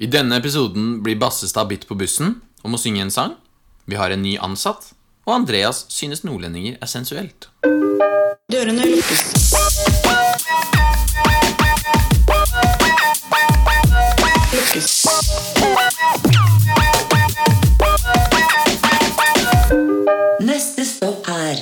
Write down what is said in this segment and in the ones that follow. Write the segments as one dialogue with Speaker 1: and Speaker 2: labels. Speaker 1: I denne episoden blir Bassestad bitt på bussen og må synge en sang. Vi har en ny ansatt, og Andreas synes nordlendinger er sensuelt.
Speaker 2: Dørene lukkes. Lukkes. Neste stopp er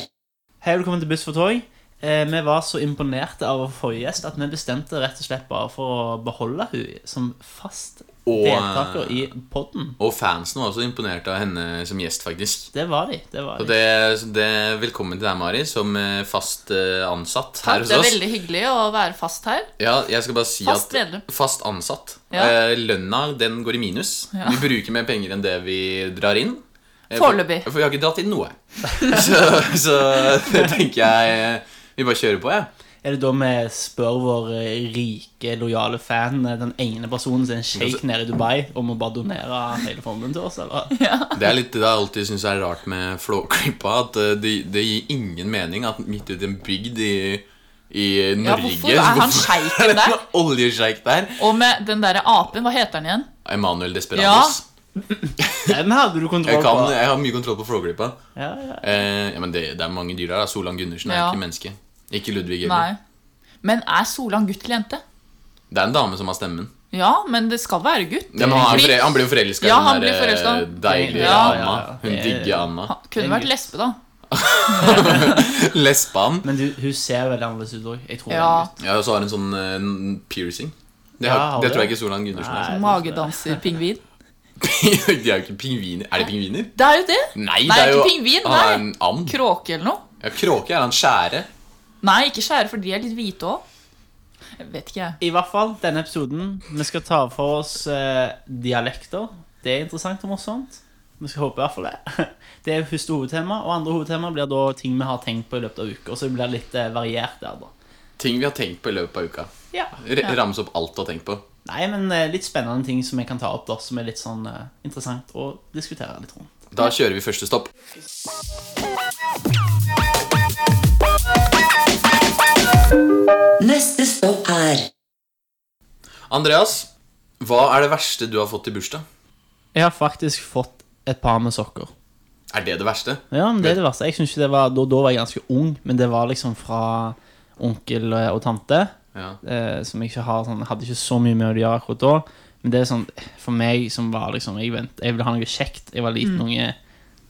Speaker 3: Hei, velkommen til Buss for tog. Eh, vi var så imponerte av vår forrige gjest at vi bestemte rett og slett bare for å beholde hun som fast
Speaker 1: Og-
Speaker 3: deltaker i podden.
Speaker 1: Og fansen var også imponert av henne som gjest, faktisk.
Speaker 3: Det var de. det var
Speaker 1: Og
Speaker 3: de.
Speaker 1: det, det, velkommen til deg, Mari, som eh, fast eh, ansatt
Speaker 4: Takk,
Speaker 1: her hos
Speaker 4: det er
Speaker 1: oss.
Speaker 4: veldig hyggelig å være fast her.
Speaker 1: Ja, jeg skal bare si
Speaker 4: Fast
Speaker 1: at
Speaker 4: medlem.
Speaker 1: Fast ansatt.
Speaker 4: Ja.
Speaker 1: Eh, lønna den går i minus.
Speaker 4: Ja.
Speaker 1: Vi bruker mer penger enn det vi drar inn. Eh,
Speaker 4: Foreløpig.
Speaker 1: For, for vi har ikke dratt inn noe. så, så det tenker jeg eh, vi bare kjører på, jeg. Ja.
Speaker 3: Er det da vi spør vår eh, rike, lojale fan, eh, den ene personen som er en
Speaker 1: Altså-
Speaker 3: sjeik nede i Dubai, om å bare donere hele formuen til oss, eller?
Speaker 1: Det er litt det jeg alltid syns er rart med Flåklypa, at eh, det, det gir ingen mening at midt ute i en bygd i, i
Speaker 4: Ja,
Speaker 1: Norge
Speaker 4: hvorfor er han
Speaker 1: hvorfor er
Speaker 4: sjeiken
Speaker 1: det
Speaker 4: der?
Speaker 1: en Oljesjeik der.
Speaker 4: Og med den derre apen, hva heter den igjen?
Speaker 1: Emanuel Desperados.
Speaker 3: Hvem hadde du kontroll
Speaker 1: Jeg, kan,
Speaker 3: på?
Speaker 1: jeg har mye kontroll på Flåklypa.
Speaker 3: Ja, ja.
Speaker 1: Eh, ja, men det, det er mange dyr der. da. Solan Gundersen er
Speaker 4: Ja.
Speaker 1: ikke menneske. Ikke Ludvig heller.
Speaker 4: Nei. Men er Solan gutt eller jente?
Speaker 1: Det er en dame som har stemmen.
Speaker 4: Ja, men det skal være gutt.
Speaker 1: Ja, men han, er
Speaker 4: Fordi-
Speaker 1: forel- han blir jo forelska
Speaker 4: Ja,
Speaker 1: i
Speaker 4: han
Speaker 1: den
Speaker 4: blir
Speaker 1: der eh,
Speaker 4: forelsket.
Speaker 1: deilige
Speaker 4: Ja.
Speaker 1: Anna.
Speaker 3: Ja, ja, ja.
Speaker 1: Hun
Speaker 3: Det-
Speaker 1: digger Anna.
Speaker 4: han kunne vært lesbe, da.
Speaker 1: Lesban.
Speaker 3: Men du, hun ser veldig annerledes ut òg. Jeg tror det
Speaker 4: Ja.
Speaker 3: er en gutt.
Speaker 1: Ja, og så har hun sånn eh, n- piercing. Det,
Speaker 3: Ja,
Speaker 1: har,
Speaker 3: har
Speaker 1: det
Speaker 3: det?
Speaker 1: tror jeg ikke Solan Gundersen
Speaker 3: Nei.
Speaker 1: har.
Speaker 4: Magedanserpingvin.
Speaker 1: De er jo ikke pingviner. Er de pingviner?
Speaker 4: Det er jo det!
Speaker 1: Nei,
Speaker 4: Nei,
Speaker 1: det er jo
Speaker 4: ikke pingvin,
Speaker 1: Han er en
Speaker 4: nei.
Speaker 1: and.
Speaker 4: Kråke eller noe.
Speaker 1: Ja, kråke er han skjære.
Speaker 4: Nei, ikke skjære, for de er litt hvite òg. Vet ikke jeg.
Speaker 3: I hvert fall denne episoden. Vi skal ta for oss eh, dialekter. Det er interessant og morsomt. Vi skal håpe i hvert fall det. Det er første hovedtema, og andre hovedtema blir da ting vi har tenkt på i løpet av uka. Så det blir litt eh, variert der, da.
Speaker 1: Ting vi har tenkt på i løpet av uka.
Speaker 3: Ja.
Speaker 1: R Ramse opp alt du har tenkt på.
Speaker 3: Nei, men eh, litt spennende ting som jeg kan ta opp, da, som er litt sånn eh, interessant å diskutere litt rundt.
Speaker 1: Da kjører vi første stopp.
Speaker 2: Neste stopp er
Speaker 1: Andreas, hva er det verste du har fått i bursdag?
Speaker 3: Jeg har faktisk fått et par med sokker.
Speaker 1: Er det det verste?
Speaker 3: Ja, men det er det verste. Jeg synes ikke det var, da, da var jeg ganske ung, men det var liksom fra onkel eh, og tante.
Speaker 1: Ja.
Speaker 3: eh, som jeg ikke har sånn, hadde ikke så mye med å gjøre akkurat da. Men det er sånn, for meg som var liksom Jeg, vent, jeg ville ha noe kjekt. Jeg var liten unge.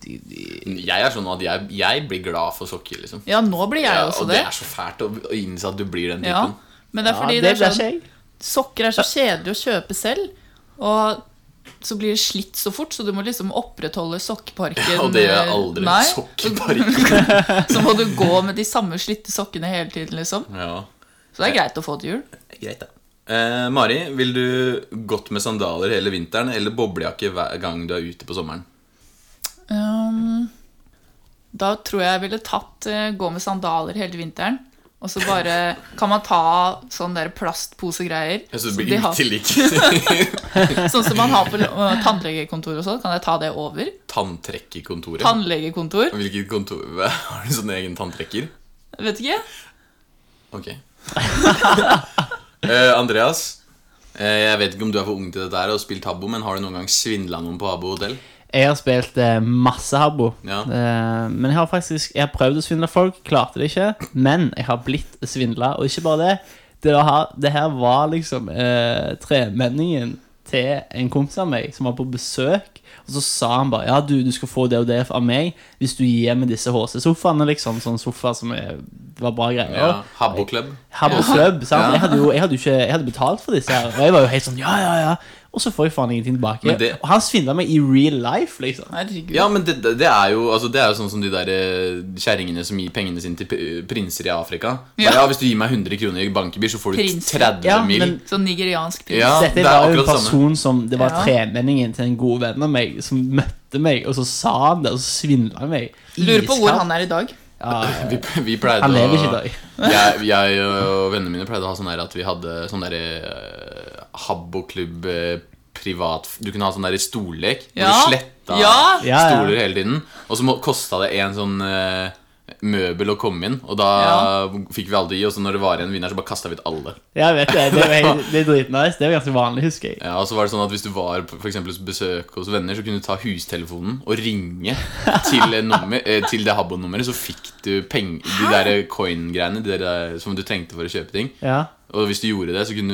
Speaker 3: De, de,
Speaker 1: Jeg er sånn at jeg, jeg blir glad for sokker, liksom.
Speaker 4: Ja, nå blir jeg
Speaker 1: Ja,
Speaker 4: også
Speaker 1: og det
Speaker 4: det.
Speaker 1: er så fælt å å innse at du blir den
Speaker 4: Ja.
Speaker 1: typen.
Speaker 4: Men det er
Speaker 3: ja,
Speaker 4: fordi
Speaker 3: det
Speaker 4: det er
Speaker 3: blir
Speaker 4: sånn
Speaker 3: ikke jeg.
Speaker 4: Sokker er så kjedelig å kjøpe selv, og så blir det slitt så fort, så du må liksom opprettholde sokkeparken. eh,
Speaker 1: Og det gjør jeg aldri.
Speaker 4: Nei,
Speaker 1: Sokkepark.
Speaker 4: Så må du gå med de samme slitte sokkene hele tiden, liksom.
Speaker 1: Ja.
Speaker 4: Så det er greit å få til jul.
Speaker 1: Greit, da. Eh, Mari, vil du gått med sandaler hele vinteren eller boblejakke hver gang du er ute på sommeren?
Speaker 4: Ehm, da tror jeg jeg ville tatt eh, gå med sandaler hele vinteren. Og så bare kan man ta sånn der plastposegreier.
Speaker 1: Så
Speaker 4: som
Speaker 1: du
Speaker 4: de
Speaker 1: blir
Speaker 4: har-
Speaker 1: uteligg.
Speaker 4: Sånn som man har på eh, tannlegekontor og sånn. Kan jeg ta det over?
Speaker 1: Tanntrekkerkontoret.
Speaker 4: Tannlegekontor?
Speaker 1: Hvilket kontor Hva- Har du sånn egen tanntrekker?
Speaker 4: Vet ikke.
Speaker 1: Ok. Eh, Andreas, eh, jeg vet ikke om du er for ung til dette her og har spilt habbo, men har du noen gang svindla noen på Habbo hotell?
Speaker 3: Jeg har spilt eh, masse Habbo.
Speaker 1: Ja.
Speaker 3: Eh, men jeg har faktisk Jeg har prøvd å svindle folk, klarte det ikke. Men jeg har blitt svindla, og ikke bare det. Det, har, det her var liksom eh, tremenningen til en kompis av meg som var på besøk. Og så sa han bare Ja, du, du skal få det og det av meg hvis du gir meg disse HC-sofaene. liksom Sånn sofa som er, var bra greier.
Speaker 1: Ja, Habbo-klubb.
Speaker 3: Habbo Club. Sant? Jeg hadde jo jeg hadde jo ikke jeg hadde betalt for disse her. Og jeg var jo helt sånn ja, ja, ja. Og så får jeg faen ingenting tilbake.
Speaker 1: Men det-
Speaker 3: Og han svindla meg i real life, liksom.
Speaker 4: Herregud.
Speaker 1: Ja, men det, det- det, er jo, altså, det er jo sånn som de der eh, kjerringene som gir pengene sine til p- prinser i Afrika. Ja.
Speaker 4: Ja.
Speaker 1: ja, Hvis du gir meg 100 kroner i bankebir, så får du
Speaker 4: Prinser.
Speaker 1: 30
Speaker 3: Ja,
Speaker 1: mil.
Speaker 3: men-
Speaker 4: Sånn nigeriansk prins.
Speaker 1: Ja, det
Speaker 3: Dette
Speaker 1: er
Speaker 3: var jo en
Speaker 1: akkurat det samme.
Speaker 3: person som Det var
Speaker 4: Ja.
Speaker 3: tremenningen til en god venn av meg som møtte meg, og så sa han det, og så svindla han meg.
Speaker 4: Lurer på hvor han er i dag.
Speaker 1: Vi, vi pleide
Speaker 3: Han lever
Speaker 1: å-
Speaker 3: ikke i dag.
Speaker 1: jeg, jeg og vennene mine pleide å ha sånn der at vi hadde sånn der eh, habboklubb eh, privat Du kunne ha sånn der stollek hvor
Speaker 4: Ja.
Speaker 1: du sletta
Speaker 4: Ja.
Speaker 3: Ja, ja.
Speaker 1: stoler hele tiden. Og så må- kosta det en sånn eh, møbel å komme inn, og da
Speaker 4: Ja.
Speaker 1: fikk vi alle de, og så når det var igjen vinner, så bare kasta vi ut alle.
Speaker 3: Jeg vet det. Det er, jo helt- det er dritnice. Det er jo ganske vanlig, husker jeg.
Speaker 1: Ja, og så var det sånn at Hvis du var på for eksempel, hos besøk hos venner, så kunne du ta hustelefonen og ringe til, en nummer, eh, til det Habbo-nummeret, så fikk du peng, de der coin-greiene de der, eh, som du trengte for å kjøpe ting.
Speaker 3: Ja.
Speaker 1: Og hvis du gjorde det, så kunne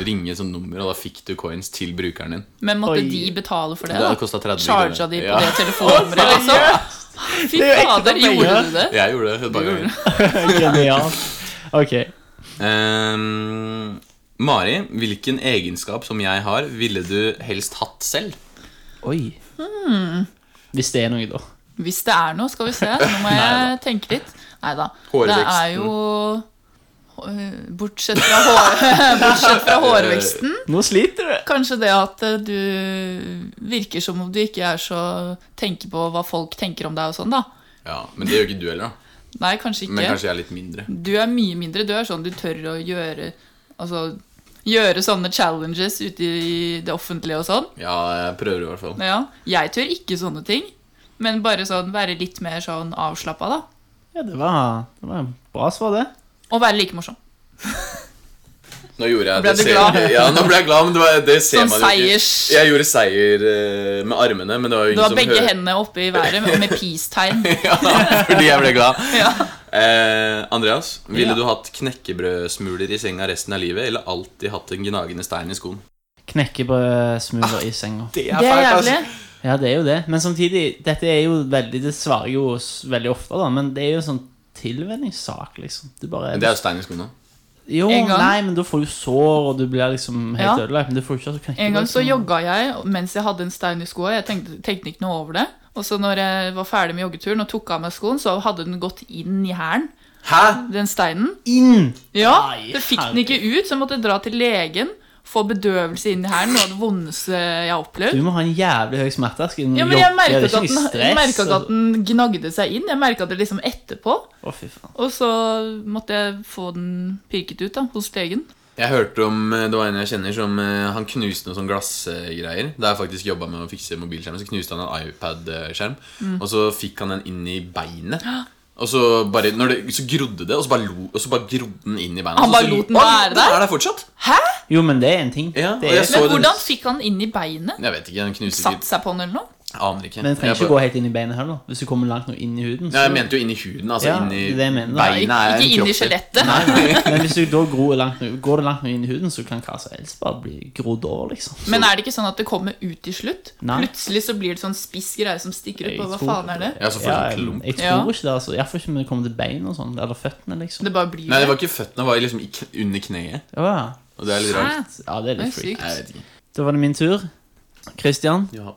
Speaker 1: du ringe et sånt nummer, og da fikk du coins til brukeren din.
Speaker 4: Men måtte
Speaker 3: Oi.
Speaker 4: de betale for det?
Speaker 1: Det
Speaker 4: da?
Speaker 1: hadde kostet 30
Speaker 4: Charga
Speaker 1: kroner.
Speaker 4: de på
Speaker 1: Ja.
Speaker 4: det telefonnummeret, liksom? Fy
Speaker 3: Det er jo ekte
Speaker 4: fader, gjorde
Speaker 3: penger.
Speaker 4: du det?
Speaker 1: Jeg gjorde det et par ganger.
Speaker 3: Genialt. Ok.
Speaker 1: Ehm, Mari, hvilken egenskap som jeg har, ville du helst hatt selv?
Speaker 3: Oi.
Speaker 4: Hmm.
Speaker 3: Hvis det er noe, da.
Speaker 4: Hvis det er noe, skal vi se. Nå må jeg tenke litt. Nei da. Det er
Speaker 1: Hårveksten.
Speaker 4: jo øh, Bortsett fra, hår, bortsett fra
Speaker 1: Eh.
Speaker 4: hårveksten,
Speaker 3: Nå sliter du.
Speaker 4: kanskje det at øh, du virker som om du ikke er så tenker på hva folk tenker om deg og sånn, da.
Speaker 1: Ja, Men det gjør ikke du heller, da.
Speaker 4: Nei, kanskje ikke.
Speaker 1: Men kanskje jeg er litt mindre.
Speaker 4: Du er mye mindre. Du er sånn du tør å gjøre Altså gjøre sånne challenges ute i det offentlige og sånn.
Speaker 1: Ja, jeg prøver i hvert fall.
Speaker 4: Ja, jeg tør ikke sånne ting. Men bare sånn være litt mer sånn avslappa, da.
Speaker 3: Ja, det var, det var en bra svar, det.
Speaker 4: Og være like morsom.
Speaker 1: Nå gjorde jeg
Speaker 4: Ble
Speaker 1: det
Speaker 4: du
Speaker 1: ser-
Speaker 4: glad?
Speaker 1: Ja, nå ble jeg glad, men det, var, det ser
Speaker 4: Sånn
Speaker 1: man jo ikke.
Speaker 4: seiers.
Speaker 1: Jeg gjorde seier eh, med armene, men det var jo
Speaker 4: Du
Speaker 1: ingen
Speaker 4: har
Speaker 1: som
Speaker 4: begge
Speaker 1: hører-
Speaker 4: hendene oppe i været med, med peace-tegn.
Speaker 1: Ja, fordi jeg ble glad.
Speaker 4: Ja.
Speaker 1: Eh, Andreas, ville
Speaker 3: Ja.
Speaker 1: du hatt knekkebrødsmuler i senga resten av livet, eller alltid hatt en gnagende stein i skoen?
Speaker 3: Knekkebrødsmuler i senga.
Speaker 4: Det er altså. jævlig.
Speaker 3: Ja, det er jo det. Men samtidig, dette er jo veldig Det svarer jeg jo s- veldig ofte, da, men det er jo sånn tilvenningssak, liksom. Du bare
Speaker 1: Det er jo stein i skoen nå.
Speaker 3: Jo,
Speaker 4: En gang-
Speaker 3: nei, men da får du sår, og du blir liksom helt
Speaker 4: Ja.
Speaker 3: ødelagt. Men du får ikke sånn knekkebrød.
Speaker 4: En gang så
Speaker 3: som-
Speaker 4: jogga jeg mens jeg hadde en stein i skoa. Jeg tenkte, tenkte ikke noe over det. Og så når jeg var ferdig med joggeturen og tok av meg skoen, så hadde den gått inn i hælen.
Speaker 1: Hæ?
Speaker 4: Den steinen.
Speaker 3: inn!
Speaker 4: Ja,
Speaker 3: Nei,
Speaker 4: det fikk den ikke ut, så jeg måtte dra til legen. Få bedøvelse inn i hælen. Noe av det vondeste jeg har opplevd.
Speaker 3: Du må ha en jævlig høy smerterskel.
Speaker 4: Ja, men jeg merket at, den, jeg merket at den gnagde seg inn. Jeg merket det liksom etterpå.
Speaker 3: altså. Å, fy faen.
Speaker 4: Og så måtte jeg få den pirket ut da, hos legen.
Speaker 1: Jeg hørte om eh, det var en jeg kjenner som eh, han knuste noen sånn glassgreier. Da jeg faktisk jobba med å fikse mobilskjermen, så knuste han en iPad-skjerm.
Speaker 4: Mm.
Speaker 1: Og så fikk han den inn i beinet. Og så bare, når det, så grodde det, og så bare, lo, og så bare grodde den inn i beina.
Speaker 4: Han
Speaker 1: Så-
Speaker 4: bare
Speaker 1: så-
Speaker 4: lot den
Speaker 1: Oi,
Speaker 4: være der?
Speaker 1: er der fortsatt.
Speaker 3: Jo, men det er en ting.
Speaker 1: Ja, og
Speaker 3: det
Speaker 1: jeg
Speaker 3: er,
Speaker 1: så-
Speaker 4: Men
Speaker 1: den-
Speaker 4: hvordan fikk han inn i beinet?
Speaker 1: Jeg vet ikke, han knuste
Speaker 4: Satt
Speaker 1: sikkert
Speaker 4: seg på den eller noe?
Speaker 1: Aner ikke.
Speaker 3: men den trenger
Speaker 1: jeg,
Speaker 3: ikke
Speaker 1: bare-
Speaker 3: gå helt inn i beinet heller. Hvis du kommer langt nok inn i huden.
Speaker 1: ja,
Speaker 3: Så,
Speaker 1: jeg mente jo inn i huden. Altså
Speaker 3: Ja,
Speaker 1: inn i
Speaker 3: det er det jeg mener.
Speaker 4: Ikke,
Speaker 1: beina. er en
Speaker 4: ikke inn i
Speaker 1: kroppsdel.
Speaker 4: skjelettet.
Speaker 3: men hvis du da gror langt, nok- går det langt nok inn i huden, så kan hva som helst bare bli grodd over, liksom.
Speaker 4: Men er det ikke sånn at det kommer ut til slutt?
Speaker 3: Nei.
Speaker 4: Plutselig så blir det sånn spiss greie som stikker
Speaker 3: Jeg
Speaker 4: opp. Og hva
Speaker 3: tror-
Speaker 4: faen er det?
Speaker 1: Ja, så får du
Speaker 3: Ja,
Speaker 1: en klump.
Speaker 3: jeg tror
Speaker 4: Ja.
Speaker 3: ikke det, altså. Iallfall ikke når det kommer til bein og sånn. Eller føttene, liksom.
Speaker 4: Det bare blir
Speaker 1: Nei, det var ikke føttene, det var liksom i kn- under kneet.
Speaker 3: Å, ja.
Speaker 1: Og det er litt rart.
Speaker 3: ja, det er
Speaker 4: Det er
Speaker 3: litt freak.
Speaker 4: sykt.
Speaker 1: Jeg vet ikke.
Speaker 3: Da var det min tur. Christian,
Speaker 1: Ja.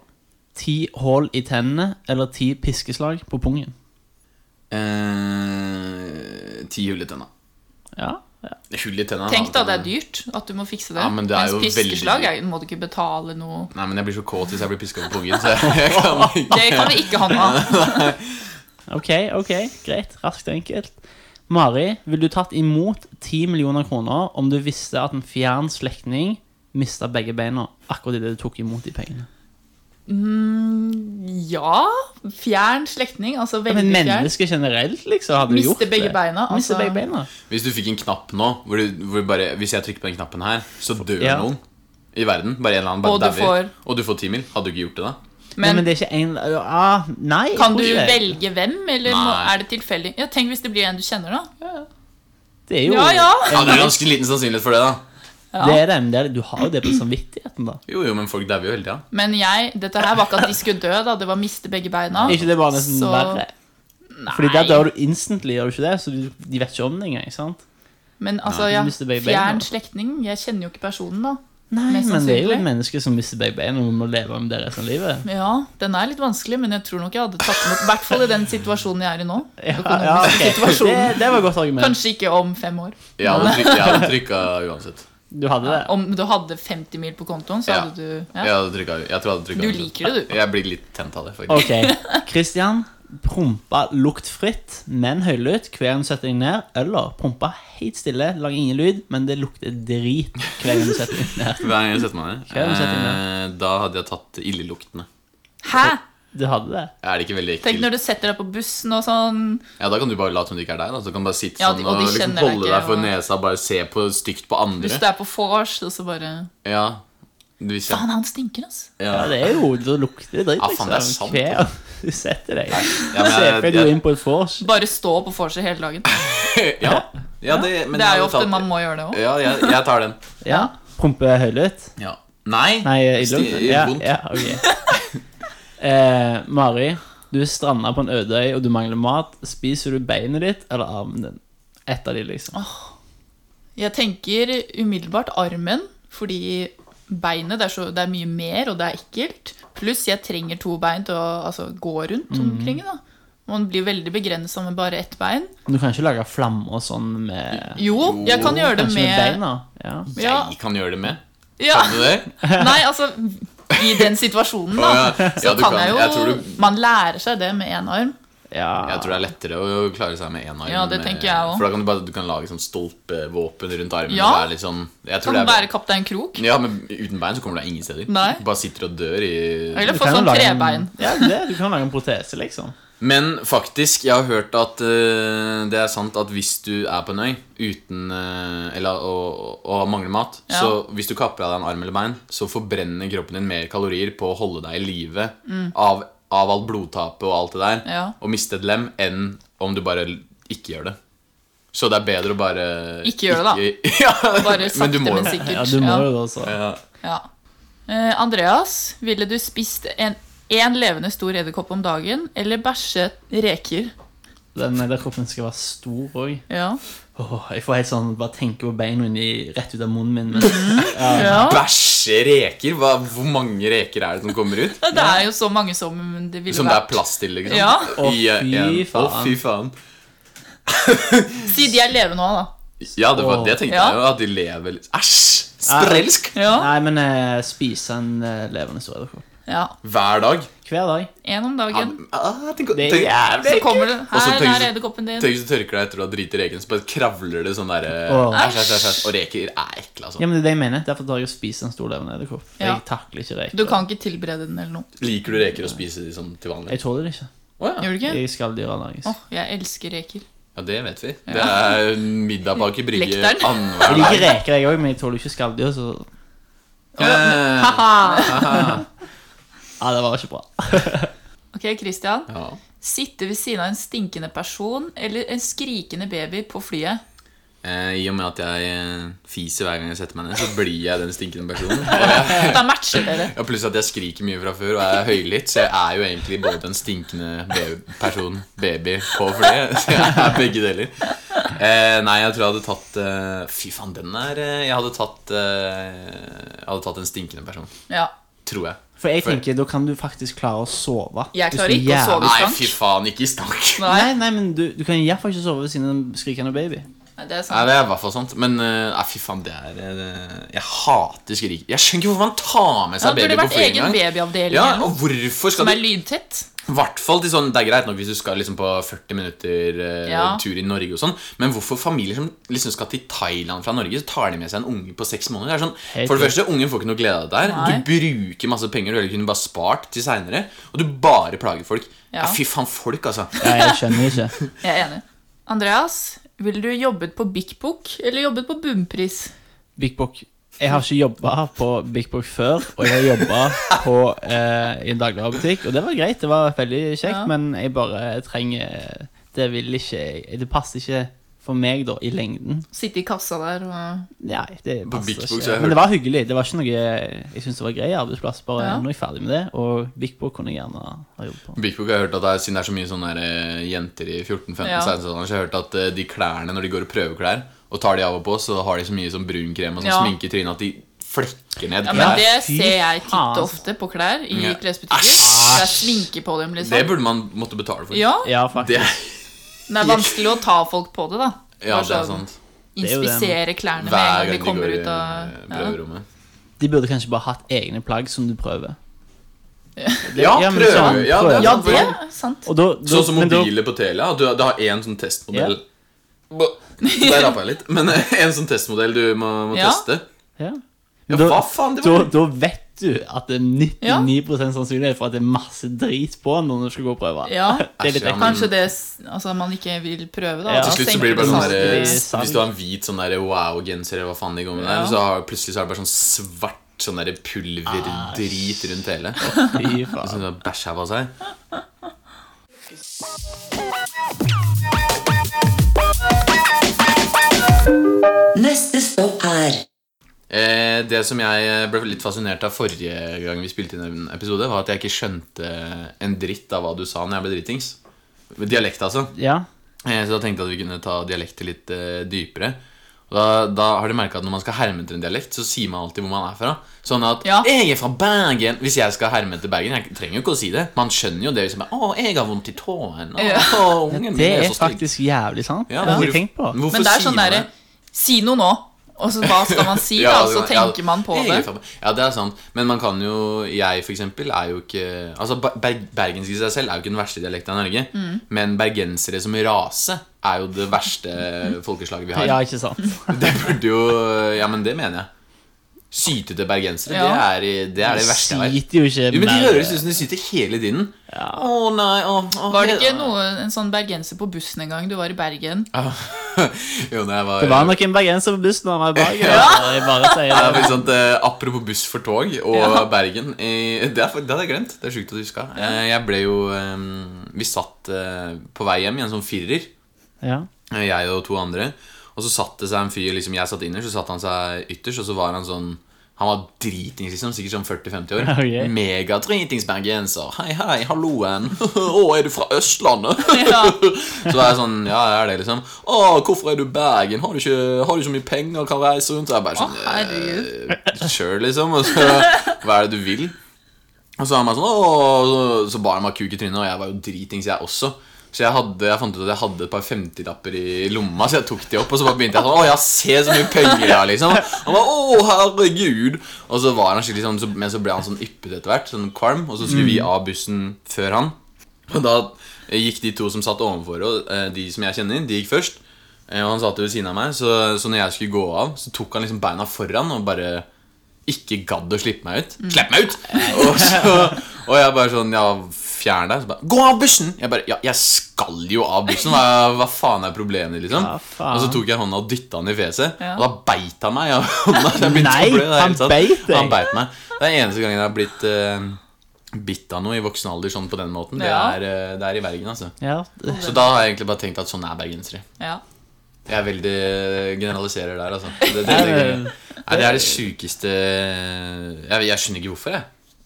Speaker 3: ti hull i tennene eller ti piskeslag på pungen?
Speaker 1: Eh, ti hull i tenna.
Speaker 3: Ja, ja.
Speaker 1: Hull i tenna.
Speaker 4: Tenk da, det er dyrt at du må fikse det.
Speaker 1: Ja, men det er
Speaker 4: Mens
Speaker 1: jo veldig
Speaker 4: piskeslag
Speaker 1: dyrt.
Speaker 4: er- må du ikke betale noe
Speaker 1: Nei, men jeg blir så kåt hvis jeg blir piska på pungen. Så jeg kan ikke
Speaker 4: Det kan vi ikke ha noe av.
Speaker 3: Ok, ok, greit. Raskt og enkelt. Mari, ville du tatt imot 10 millioner kroner om du visste at en fjern slektning mista begge beina akkurat idet du tok imot de pengene?
Speaker 4: Ja, fjern slektning, altså veldig
Speaker 3: Men
Speaker 4: fjern.
Speaker 3: mennesker generelt, liksom, hadde
Speaker 4: Miste
Speaker 3: gjort det.
Speaker 4: begge beina, altså.
Speaker 3: Miste begge beina.
Speaker 1: Hvis du fikk en knapp nå, hvor du, hvor du bare, hvis jeg trykker på den knappen her, så dør
Speaker 3: Ja.
Speaker 1: noen i verden. Bare en eller annen bare
Speaker 4: Og du
Speaker 1: dauer.
Speaker 4: får-
Speaker 1: Og du får ti mil. Hadde du ikke gjort det, da?
Speaker 3: Men,
Speaker 4: Men,
Speaker 3: men det er ikke en ah, Nei. jeg
Speaker 4: kan
Speaker 3: tror
Speaker 4: du
Speaker 3: ikke det.
Speaker 4: velge hvem, eller må,
Speaker 1: Nei.
Speaker 4: er det tilfeldig? Ja, tenk hvis det blir en du kjenner, da.
Speaker 3: Det er jo
Speaker 4: Ja, ja.
Speaker 1: Ja, Det er ganske liten sannsynlighet for det, da.
Speaker 3: Det er det, men det er, du har jo det på samvittigheten, da.
Speaker 1: Jo, jo, men folk dauer jo hele tida.
Speaker 4: Men jeg, dette her var ikke at de skulle dø, da. Det var miste begge beina.
Speaker 3: Er ikke det bare nesten
Speaker 4: Så-
Speaker 3: verre? Fordi der dør du instantly, gjør du ikke det? Så du, de vet ikke om det engang. sant?
Speaker 4: Men altså,
Speaker 3: Nei,
Speaker 4: ja,
Speaker 3: du mister begge beina.
Speaker 4: fjern slektning. Jeg kjenner jo ikke personen, da.
Speaker 3: Nei,
Speaker 4: Mest
Speaker 3: Men det er jo
Speaker 4: sannsynlig.
Speaker 3: et menneske som mister begge beina og må leve med det resten av livet.
Speaker 4: Ja, den er litt vanskelig, men jeg tror nok jeg hadde tatt den opp. I hvert fall i den situasjonen jeg er i nå.
Speaker 3: Ja,
Speaker 4: Økonomiske
Speaker 3: ja, ok. det,
Speaker 4: situasjonen.
Speaker 3: det var et godt argument.
Speaker 4: Kanskje ikke om fem år.
Speaker 1: Jeg hadde tryk- jeg hadde trykka uansett.
Speaker 3: Du hadde det.
Speaker 4: Om du hadde 50 mil på kontoen, så
Speaker 1: Ja.
Speaker 4: hadde du
Speaker 1: Jeg,
Speaker 4: ja.
Speaker 1: hadde trykka, jeg tror jeg hadde trykka
Speaker 4: Du
Speaker 1: uansett.
Speaker 4: liker det, du.
Speaker 1: Jeg blir litt tent av det, faktisk.
Speaker 3: Ok, Christian. Prompa luktfritt, men høylytt hver gang du setter deg ned. Eller prompa helt stille, lager ingen lyd, men det lukter drit hver gang du setter deg ned.
Speaker 1: Hver gang jeg setter meg ned,
Speaker 3: Hver gang du setter deg
Speaker 1: eh, da hadde jeg tatt illeluktende.
Speaker 4: Hæ?
Speaker 3: Du hadde det?
Speaker 1: Er det ikke veldig
Speaker 4: Tenk
Speaker 1: ekkelt?
Speaker 4: når du setter deg på bussen og sånn.
Speaker 1: Ja, Da kan du bare late som det ikke er deg. Da. Så kan du bare sitte
Speaker 4: Ja,
Speaker 1: sånn
Speaker 4: de- og
Speaker 1: og,
Speaker 4: de
Speaker 1: liksom
Speaker 4: kjenner deg
Speaker 1: holde
Speaker 4: ikke,
Speaker 1: deg for
Speaker 4: og-
Speaker 1: nesa og bare se på, stygt på
Speaker 4: Hvis
Speaker 1: andre.
Speaker 4: du er på vors, og så bare
Speaker 1: Ja, du visste
Speaker 4: Faen, han stinker, altså.
Speaker 1: ja.
Speaker 3: Ja, det er jo Det lukter dritt,
Speaker 1: Ja, faen, det er sant,
Speaker 3: Hver gang Du setter deg.
Speaker 1: Ja, men
Speaker 3: Se
Speaker 1: jeg-
Speaker 3: for deg du er inn på et vors.
Speaker 4: Bare stå på vorset hele dagen.
Speaker 1: ja. ja, det, men
Speaker 4: det
Speaker 1: jeg
Speaker 4: er
Speaker 1: hadde
Speaker 4: jo ofte
Speaker 1: tatt- Eh,
Speaker 4: man må gjøre det òg.
Speaker 1: Ja, jeg, jeg tar den.
Speaker 3: Ja. Prompe høylytt.
Speaker 1: Ja. Nei,
Speaker 3: Nei, i
Speaker 1: Sti-
Speaker 3: lungten. Ja,
Speaker 1: vondt.
Speaker 3: ja, ok. Eh, Mari, du er stranda på en øde øy, og du mangler mat. Spiser du beinet ditt eller armen din? Ett av de, liksom.
Speaker 4: Jeg tenker umiddelbart armen, fordi beinet det er, så, det er mye mer, og det er ekkelt. Pluss jeg trenger to bein til å altså, gå rundt
Speaker 1: Mm.
Speaker 4: omkring. da. Man blir veldig begrensa med bare ett bein.
Speaker 3: Du kan ikke lage flammer og sånn med
Speaker 4: Jo, jeg kan gjøre det
Speaker 3: Kanskje med
Speaker 4: med
Speaker 3: beina? Ja.
Speaker 4: Ja.
Speaker 1: jeg kan gjøre det med.
Speaker 4: Ja,
Speaker 1: Kan du det?
Speaker 4: Nei, altså I den situasjonen,
Speaker 1: Å,
Speaker 4: da.
Speaker 1: ja.
Speaker 4: Så
Speaker 1: Ja, du
Speaker 4: kan
Speaker 1: kan.
Speaker 4: jeg
Speaker 1: Jeg tror
Speaker 4: jo
Speaker 1: du-
Speaker 4: Man lærer seg det med én arm.
Speaker 3: ja.
Speaker 1: Jeg tror det er lettere å klare seg med én arm.
Speaker 4: Ja, det
Speaker 1: med-
Speaker 4: tenker jeg også.
Speaker 1: For da kan du bare du kan lage sånn stolpevåpen rundt armen.
Speaker 4: Ja.
Speaker 1: og være litt sånn, jeg tror
Speaker 4: Kan
Speaker 1: det er
Speaker 4: være kaptein Krok.
Speaker 1: Ja, men uten bein så kommer du deg ingen steder.
Speaker 4: Nei.
Speaker 1: Du bare sitter og dør i
Speaker 4: Eller
Speaker 3: Du
Speaker 4: få
Speaker 3: kan jo
Speaker 4: sånn
Speaker 3: lage en-
Speaker 4: trebein.
Speaker 3: Ja, det, du kan lage en protese, liksom.
Speaker 1: Men faktisk, jeg har hørt at eh, det er sant at hvis du er på en øy uten eh, Eller og, og mangler mat,
Speaker 4: Ja.
Speaker 1: så hvis du kapper av deg en arm eller bein, så forbrenner kroppen din mer kalorier på å holde deg i live av, av alt blodtapet og alt det der,
Speaker 4: Mm. Ja.
Speaker 1: og miste et lem, enn om du bare ikke gjør det. Så det er bedre å bare
Speaker 4: Ikke gjøre det,
Speaker 1: da. ja, men
Speaker 4: Bare
Speaker 1: du
Speaker 4: sakte,
Speaker 1: må
Speaker 4: men
Speaker 1: jo-
Speaker 4: sikkert.
Speaker 3: Ja, du må jo det altså. også.
Speaker 1: Ja.
Speaker 4: Ja. Eh, Andreas, ville du spist en, en levende stor edderkopp om dagen, eller bæsje reker?
Speaker 3: Den edderkoppen skal være stor òg.
Speaker 4: Ja.
Speaker 3: jeg får helt sånn bare tenke på beina inni, rett ut av munnen min. Men,
Speaker 4: ja.
Speaker 1: Bæsje reker? Hva, hvor mange reker er det som kommer ut?
Speaker 4: Det er jo så mange som det ville
Speaker 1: Som det er
Speaker 4: vært.
Speaker 1: plass til, liksom?
Speaker 4: Ja.
Speaker 1: I, eh,
Speaker 3: Å, fy
Speaker 1: en-
Speaker 3: faen.
Speaker 1: Å, fy faen.
Speaker 4: Si de er levende nå, da.
Speaker 1: Ja, det, var, det tenkte
Speaker 4: Ja.
Speaker 1: jeg jo. At de lever litt Æsj! Sprelsk!
Speaker 4: Ja.
Speaker 3: Nei, men eh, spise en eh, levende stor edderkopp.
Speaker 4: ja.
Speaker 1: Hver dag.
Speaker 3: Hver dag.
Speaker 4: En om
Speaker 1: Ja,
Speaker 4: dagen.
Speaker 1: ah, tenk,
Speaker 3: Det
Speaker 1: tenk,
Speaker 3: er jævlig.
Speaker 4: Så kommer det
Speaker 1: Og så
Speaker 4: Her
Speaker 1: tenker
Speaker 4: er
Speaker 1: du-
Speaker 4: edderkoppen din.
Speaker 1: tenk hvis du tørker deg etter å ha driti reken, så bare kravler det sånn derre
Speaker 3: Åh.
Speaker 1: Æsj, æsj, æsj, æsj. Og reker er ekle, altså.
Speaker 3: Ja, men det er det jeg mener. Derfor tar jeg og spiser en stor levende edderkopp.
Speaker 4: Ja.
Speaker 3: Jeg takler ikke reker.
Speaker 4: Du kan ikke tilberede den eller noe.
Speaker 1: Liker du reker å spise de sånn til vanlig?
Speaker 3: Jeg tåler det ikke.
Speaker 1: Å ja.
Speaker 4: Gjør du ikke?
Speaker 3: Jeg er skalldyranallergisk.
Speaker 4: Åh, jeg elsker reker.
Speaker 1: ja, det vet vi. Det er middag på Aker Brygge
Speaker 4: Lekteren.
Speaker 1: annenhver
Speaker 3: Jeg liker reker, jeg òg, men jeg tåler ikke skalldyr. Så
Speaker 1: dag.
Speaker 4: Haha.
Speaker 3: ja, det var ikke bra.
Speaker 4: Ok, Christian.
Speaker 1: Ja.
Speaker 4: Sitte ved siden av en stinkende person eller en skrikende baby på flyet.
Speaker 1: Eh, I og med at jeg eh, fiser hver gang jeg setter meg ned, så blir jeg den stinkende personen.
Speaker 4: Da matcher dere.
Speaker 1: Ja, Pluss at jeg skriker mye fra før og er høylytt, så jeg er jo egentlig både en stinkende be- person, baby, på flyet. Så jeg er begge deler. Eh, nei, jeg tror jeg hadde tatt eh, Fy faen, den er eh, Jeg hadde tatt eh, Jeg hadde tatt en stinkende person.
Speaker 4: Ja.
Speaker 1: Tror jeg.
Speaker 3: For jeg tenker, da kan du faktisk klare å sove.
Speaker 4: Jeg
Speaker 3: Hvis
Speaker 4: klarer
Speaker 3: du
Speaker 4: ikke å
Speaker 3: jævlig-
Speaker 4: sove.
Speaker 1: Nei,
Speaker 4: stank?
Speaker 1: fy faen, ikke i stank.
Speaker 4: Nei,
Speaker 3: Nei, nei, men du, du kan i hvert fall ikke sove ved siden av en skrikende baby.
Speaker 4: det er sånn sant.
Speaker 1: Nei, det er i hvert fall sant. Men eh, nei, fy faen, det er eh, Jeg hater skrik. Jeg skjønner ikke hvorfor man tar med
Speaker 4: Ja,
Speaker 1: seg
Speaker 4: Det burde
Speaker 1: baby på
Speaker 4: vært
Speaker 1: flyet
Speaker 4: egen
Speaker 1: engang.
Speaker 4: babyavdeling
Speaker 1: Ja,
Speaker 4: eller noe,
Speaker 1: og hvorfor skal
Speaker 4: som
Speaker 1: du
Speaker 4: er lydtett.
Speaker 1: hvert fall til sånn, Det er greit nok hvis du skal liksom på 40 minutter eh,
Speaker 4: Ja.
Speaker 1: tur i Norge og sånn, men hvorfor familier som liksom skal til Thailand fra Norge, så tar de med seg en unge på seks måneder? Det er sånn,
Speaker 3: Helt
Speaker 1: for det første, ungen får ikke noe glede av det der.
Speaker 4: Nei.
Speaker 1: Du bruker masse penger du heller kunne bare spart til seinere, og du bare plager folk. Ja.
Speaker 4: Ja.
Speaker 1: fy faen, folk, altså.
Speaker 3: Nei, jeg skjønner ikke.
Speaker 4: Jeg er enig. Andreas, ville du jobbet på Bik Bok eller jobbet på Bunnpris?
Speaker 3: Big Book. Jeg har ikke jobba på Big Book før, og jeg har jobba eh, i en dagligvarebutikk. Og det var greit, det var veldig kjekt,
Speaker 4: Ja.
Speaker 3: men jeg bare trenger eh, Det vil ikke jeg Det passer ikke for meg, da, i lengden.
Speaker 4: Sitte i kassa der og
Speaker 3: Nei, det
Speaker 1: På Big Book så har
Speaker 3: passer ikke.
Speaker 1: jeg hørt-
Speaker 3: Men det var hyggelig. Det var ikke noe Jeg syns det var grei arbeidsplass, bare
Speaker 4: Ja.
Speaker 3: nå er jeg ferdig med det. Og Big Book kunne jeg gjerne ha jobbet på.
Speaker 1: Big Book har jeg hørt at det er, Siden det er så mye sånne der, eh, jenter i 14-15-16
Speaker 4: Ja.
Speaker 1: så har jeg hørt at eh, de klærne, når de går og prøver klær, og tar de av og på, så har de så mye sånn brunkrem og sånn
Speaker 4: Ja.
Speaker 1: sminke i trynet at de flekker ned.
Speaker 4: Ja,
Speaker 1: klær.
Speaker 4: men
Speaker 3: Ja,
Speaker 4: det
Speaker 3: fy
Speaker 4: ser jeg titt
Speaker 3: faen,
Speaker 4: og
Speaker 3: altså.
Speaker 4: ofte på klær i
Speaker 1: Ja.
Speaker 4: klesbutikker.
Speaker 1: Æsj.
Speaker 4: Det er sminke på dem,
Speaker 1: det
Speaker 4: liksom.
Speaker 1: burde man måtte betale for.
Speaker 4: Ja,
Speaker 3: Ja, faktisk.
Speaker 1: Det er
Speaker 4: men det er vanskelig å ta folk på det, da.
Speaker 1: Ja,
Speaker 4: Bare
Speaker 1: det er
Speaker 4: sånn,
Speaker 1: sant.
Speaker 3: er jo det.
Speaker 4: Inspisere klærne med
Speaker 1: Hver gang
Speaker 4: en gang de
Speaker 1: de går
Speaker 4: kommer
Speaker 1: i
Speaker 4: ut av
Speaker 1: eh,
Speaker 4: ja.
Speaker 1: prøverommet.
Speaker 3: De burde kanskje bare hatt egne plagg som du prøver.
Speaker 1: Ja,
Speaker 3: ja, men
Speaker 1: prøver.
Speaker 3: sånn,
Speaker 1: Ja, det
Speaker 3: prøver.
Speaker 1: er
Speaker 4: ja,
Speaker 1: sant.
Speaker 4: det er sant.
Speaker 3: Og da, da,
Speaker 1: Sånn som
Speaker 3: men da-
Speaker 1: mobiler på Telia. Du, du har én sånn testmodell. Bå, Der rappa jeg litt. Men eh, en sånn testmodell du må, må
Speaker 4: Ja.
Speaker 1: teste.
Speaker 3: Ja.
Speaker 1: Ja,
Speaker 3: Da-
Speaker 1: hva faen? Det
Speaker 3: da,
Speaker 1: var
Speaker 3: da vet du at det er 99 sannsynlighet for at det er masse drit på den når du skal gå og prøve.
Speaker 4: Ja.
Speaker 3: Det er
Speaker 1: Æsj,
Speaker 3: litt
Speaker 1: ja,
Speaker 3: ekkelt.
Speaker 1: men-
Speaker 4: Kanskje det s- altså, man ikke vil prøve, da.
Speaker 3: Ja.
Speaker 4: og
Speaker 1: Til
Speaker 4: så
Speaker 1: slutt så
Speaker 4: senker
Speaker 1: blir det bare sånn
Speaker 4: det
Speaker 1: der,
Speaker 4: seg.
Speaker 3: salg.
Speaker 1: Hvis du har en hvit sånn der wow-genser eller hva faen de går med
Speaker 4: Ja.
Speaker 1: der, så har, plutselig så er det bare sånn svart sånn der pulverdrit rundt hele.
Speaker 3: Fy faen.
Speaker 1: Sånn bæsja på seg.
Speaker 2: Neste stopp er
Speaker 1: Eh, det som jeg ble litt fascinert av forrige gang vi spilte inn en episode, var at jeg ikke skjønte en dritt av hva du sa når jeg ble dritings. Med Dialekt, altså.
Speaker 3: Ja.
Speaker 1: Eh, Så da tenkte jeg at vi kunne ta dialekter litt eh, dypere. Og da, da har du merket at Når man skal herme etter en dialekt, så sier man alltid hvor man er fra. Sånn at
Speaker 4: Ja.
Speaker 1: 'Jeg er fra Bergen' Hvis jeg skal herme etter Bergen, jeg trenger jo ikke å si det. Man skjønner jo det hvis man bare 'Å, jeg har vondt i tåen'. Å,
Speaker 4: Ja.
Speaker 1: ungen min
Speaker 3: Det
Speaker 1: er
Speaker 3: er
Speaker 1: så stygg.
Speaker 3: faktisk jævlig sant.
Speaker 1: Ja,
Speaker 3: Det har jeg
Speaker 1: hvorfor-
Speaker 3: ikke tenkt på.
Speaker 1: Hvorfor
Speaker 4: Men det er sånn
Speaker 1: sier man
Speaker 4: derre
Speaker 1: det?
Speaker 4: Si noe nå! Og så hva skal man si, da?
Speaker 1: Ja,
Speaker 4: Og så
Speaker 1: ja,
Speaker 4: tenker man på
Speaker 1: jeg er
Speaker 4: det.
Speaker 1: fra- Ja, det er sant. Men man kan jo Jeg, for eksempel, er jo ikke Altså, Ber- Ber- bergensk i seg selv er jo ikke den verste dialekten i Norge.
Speaker 4: Mm.
Speaker 1: Men bergensere som rase er jo det verste folkeslaget vi har.
Speaker 3: Ja, ikke sant.
Speaker 1: Det burde jo Ja, men det mener jeg. Sytete bergensere, det,
Speaker 4: Ja.
Speaker 1: er, det er det verste jeg vet.
Speaker 3: Syter jo ikke
Speaker 1: Jo, men De
Speaker 3: mer.
Speaker 1: høres ut som de syter hele tiden. Å nei, å, å,
Speaker 4: Var det
Speaker 1: he-
Speaker 4: ikke noe, en sånn bergenser på bussen en gang du var i Bergen?
Speaker 1: Jo, når jeg var,
Speaker 3: Det var nok en bergenser på bussen da han var i Bergen. altså. Jeg bare
Speaker 1: Det er
Speaker 3: sier det.
Speaker 1: faktisk sånn, at, eh, apropos buss for tog og
Speaker 4: Ja.
Speaker 1: Bergen eh, det, er, for- det hadde jeg glemt. Det er sjukt at du huska. Eh, jeg ble jo eh, Vi satt eh, på vei hjem i en sånn firer.
Speaker 3: Ja.
Speaker 1: Eh, Jeg og to andre. Og så satte seg en fyr liksom, Jeg satt innerst, så satte han seg ytterst, og så var han sånn han var dritings, liksom, sikkert sånn 40-50 år.
Speaker 3: Ok.
Speaker 1: Megadritings bergenser. Hei, hei, halloen. Å, er du fra Østlandet?
Speaker 4: Ja.
Speaker 1: så var jeg sånn Ja, jeg er det, liksom. Å, hvorfor er du i Bergen? Har du ikke, har du ikke så mye penger, kan reise rundt? Og jeg bare sånn
Speaker 4: Å, herregud.
Speaker 1: «Eh, Sure, liksom. Og så Hva er det du vil? Og så var han bare sånn Åh, så, så bar han meg kuk i trynet, og jeg var jo dritings, jeg også. Så jeg, hadde, jeg fant ut at jeg hadde et par 50-lapper i lomma, så jeg tok de opp. Og så bare begynte jeg sånn Å, jeg ser så mye penger jeg har, liksom. Han bare, Å, herregud. Og så var han skikkelig sånn, så, men så ble han sånn yppet etter hvert, sånn kvalm, og så skulle vi av bussen før han. Og da gikk de to som satt ovenfor, og eh, de som jeg kjenner, de gikk først. Eh, Og han satt ved siden av meg, så, så når jeg skulle gå av, så tok han liksom beina foran og bare ikke gadd å slippe meg
Speaker 3: Mm.
Speaker 1: ut. Slipp meg ut! Og, så, og jeg bare sånn Ja, fjern deg. Så bare Gå av bussen! Jeg bare Ja, jeg skal jo av bussen. Hva, hva faen er problemet, liksom?
Speaker 3: Ja, faen.
Speaker 1: og så tok jeg hånda og dytta han i fjeset,
Speaker 4: Ja.
Speaker 1: og da beit han meg. i hånda. Så jeg begynte
Speaker 3: Nei,
Speaker 1: å blø i det hele
Speaker 3: han
Speaker 1: tatt.
Speaker 3: beit deg.
Speaker 1: Han beit meg. Det er eneste gangen jeg har blitt eh, bitt av noe i voksen alder sånn på den måten. Det,
Speaker 4: Ja.
Speaker 1: er, eh, det er i Bergen, altså.
Speaker 3: Ja.
Speaker 1: Så da har jeg egentlig bare tenkt at sånn er bergensere.
Speaker 4: Ja.
Speaker 1: Jeg er veldig eh, generaliserer der, altså. Det, det, det, Nei, det er det sjukeste eh, jeg, jeg skjønner ikke hvorfor, jeg.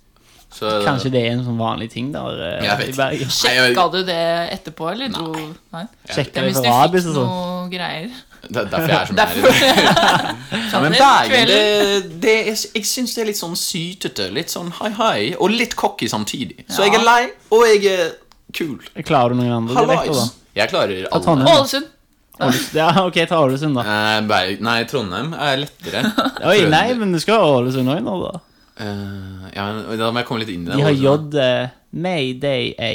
Speaker 1: Så, eh,
Speaker 3: Kanskje det er en sånn vanlig ting der eh,
Speaker 1: Jeg vet
Speaker 3: i Bergen.
Speaker 1: ikke. Nei, jeg
Speaker 4: Sjekka
Speaker 1: vet-
Speaker 4: du det etterpå, eller? Nei. Nei. Ja,
Speaker 3: Sjekker
Speaker 4: hvis
Speaker 3: litt
Speaker 4: du
Speaker 3: for
Speaker 4: fikk
Speaker 3: rabies og sånn.
Speaker 4: noe greier.
Speaker 1: Det er derfor jeg er som jeg er. i dag.
Speaker 4: Derfor.
Speaker 1: Ja, men
Speaker 4: Sånn,
Speaker 1: Bergen,
Speaker 4: kvelden.
Speaker 1: det, det er, jeg syns det er litt sånn sytete. Litt sånn hei, hei, og litt cocky samtidig. Så jeg er lei, og jeg er kul.
Speaker 3: Klarer du noen andre dialekter,
Speaker 1: Hallais. Jeg klarer alle.
Speaker 3: Trondheim.
Speaker 4: Ålesund.
Speaker 3: da? Ålesund- Ja, ok, ta Ålesund, da.
Speaker 1: Eh, Berg, nei, Trondheim er lettere.
Speaker 3: Oi,
Speaker 1: Trønder-
Speaker 3: nei, men du skal ha Ålesund òg nå, da.
Speaker 1: Eh, ja, men Da må jeg komme litt inn i det.
Speaker 3: De har
Speaker 1: Ålesund.
Speaker 3: J eh, Mayday A.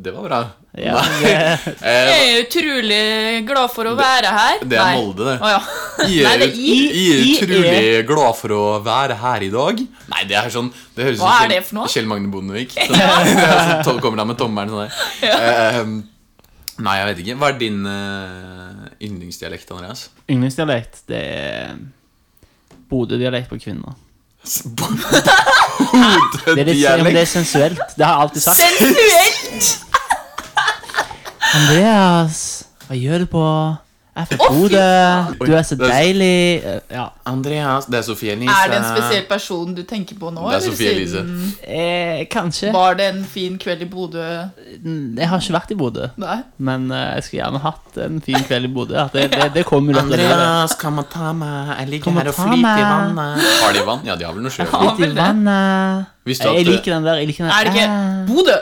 Speaker 1: Det var bra.
Speaker 3: Ja,
Speaker 1: Nei.
Speaker 3: det-
Speaker 1: Eh,
Speaker 4: Jeg er utrolig glad for å være her.
Speaker 1: det er
Speaker 4: Nei.
Speaker 1: Molde, det.
Speaker 4: Å, ja.
Speaker 1: Jeg er,
Speaker 4: Nei, det er I.
Speaker 1: jeg er
Speaker 3: I-
Speaker 1: utrolig glad for å være her i dag. Nei, det er sånn Det høres ut
Speaker 4: Hva er
Speaker 1: som
Speaker 4: det for noe?
Speaker 1: Kjell Magne Bondevik. Sånn, det er sånn, to- kommer han med tommelen sånn der. Eh, nei, jeg vet ikke. Hva er din eh, yndlingsdialekt, Andreas?
Speaker 3: Yndlingsdialekt, det er Bodø-dialekt på kvinner. Det er, litt, ja, men det er
Speaker 1: Hodedialekt?
Speaker 3: sensuelt. Det har jeg alltid sagt.
Speaker 4: Sensuelt!
Speaker 3: Andreas, hva gjør du på? Jeg er fra Bodø. Du
Speaker 1: Oi, det er
Speaker 3: er så
Speaker 1: så-
Speaker 3: deilig. Eh, Ja.
Speaker 1: Andreas Det er Sofie Elise.
Speaker 4: Er det en spesiell person du tenker på nå?
Speaker 1: Det er
Speaker 4: eller
Speaker 1: Sophie
Speaker 4: siden-
Speaker 3: Eh, kanskje. Mm,
Speaker 4: Var det en fin kveld i Bodø?
Speaker 3: Jeg har ikke vært i Bodø.
Speaker 4: Nei.
Speaker 3: Men eh, jeg skulle gjerne hatt en fin kveld i Bodø. At det, det, det kommer jo til å gjøre.
Speaker 1: kan man ta meg? Jeg ligger
Speaker 3: Kan man her og ta flyter i meg? vannet.
Speaker 1: Har de vann? Ja, de har vel noe sjø.
Speaker 4: Ja.
Speaker 3: Litt i
Speaker 4: vel det.
Speaker 3: vannet.
Speaker 1: Visste du
Speaker 3: Jeg
Speaker 1: at-
Speaker 3: liker den der. Jeg liker den der.
Speaker 4: Er
Speaker 3: Ah.
Speaker 4: det ikke Bodø?
Speaker 3: Eh,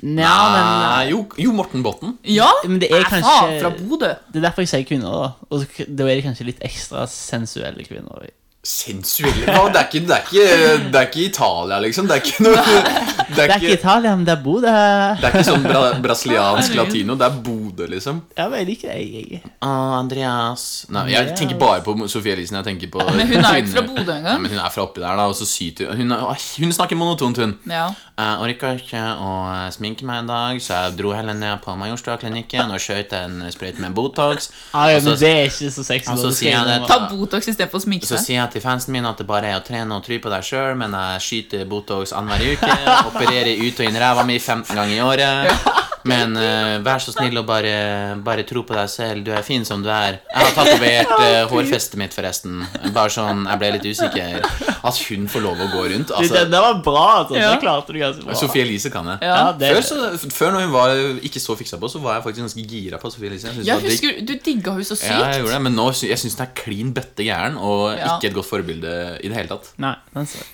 Speaker 3: Nja, men
Speaker 1: Nei, jo, jo, Morten Botten.
Speaker 4: Ja!
Speaker 3: Men det er
Speaker 4: Nei, faen,
Speaker 3: kanskje-
Speaker 4: fra Bodø.
Speaker 3: Det er derfor jeg sier kvinner, da. Og så k- da er det kanskje litt ekstra sensuelle kvinner.
Speaker 1: Sensuelle Hva? Det er ikke, det er ikke, det er ikke Italia, liksom. Det er ikke noe Det
Speaker 3: Det er ikke Italia, men det er Bodø.
Speaker 1: Det er ikke sånn bra, brasiliansk latino. Det er bo, hodet, liksom.
Speaker 3: Jeg vet ikke, jeg. jeg.
Speaker 1: Ah, Andreas Nei, jeg
Speaker 3: Andreas.
Speaker 1: tenker bare på Sofie Elisen. Jeg tenker på
Speaker 4: Men hun er jo ikke fra Bodø
Speaker 1: Nei,
Speaker 4: engang.
Speaker 1: men hun er fra oppi der, da. Og så syter hun er- Hun snakker monotont, hun.
Speaker 4: Ja.
Speaker 1: Jeg orka ikke å eh, sminke meg i dag, så jeg dro heller ned på Majorstua-klinikken og skjøt en sprøyte med Botox.
Speaker 3: Ah, ja,
Speaker 1: Og så-
Speaker 3: men det er ikke så sexy.
Speaker 1: Og så
Speaker 3: da, det skal
Speaker 1: sier jeg
Speaker 3: innrømme.
Speaker 1: det-
Speaker 4: Ta Botox istedenfor å sminke
Speaker 1: Ah. Så
Speaker 4: seg.
Speaker 1: sier jeg til fansen min at det bare er å trene og tro på deg sjøl, men jeg skyter Botox annenhver uke, opererer ut og inn ræva mi 15 ganger i året. Men eh, vær så snill og bare, bare tro på deg selv, du er fin som du er. Jeg har tatovert eh, hårfestet mitt, forresten. Bare sånn, jeg ble litt usikker. At hun får lov å gå rundt.
Speaker 3: Det, det,
Speaker 1: Altså,
Speaker 3: det var bra. Altså.
Speaker 4: Ja.
Speaker 3: Det klarte du ganske bra.
Speaker 1: Sophie Elise kan jeg.
Speaker 4: Ja.
Speaker 3: Ja, det,
Speaker 1: Før, så, før når hun var ikke så fiksa på, så var jeg faktisk ganske gira på Sophie Elise. Jeg synes
Speaker 4: Jeg
Speaker 1: det var digg.
Speaker 4: husker, Du digga henne så sykt.
Speaker 1: Ja, jeg gjorde det, men nå sy- jeg syns hun er klin bøtte gæren og
Speaker 4: Ja.
Speaker 1: ikke et godt forbilde i det hele tatt.
Speaker 3: Nei, den så jeg.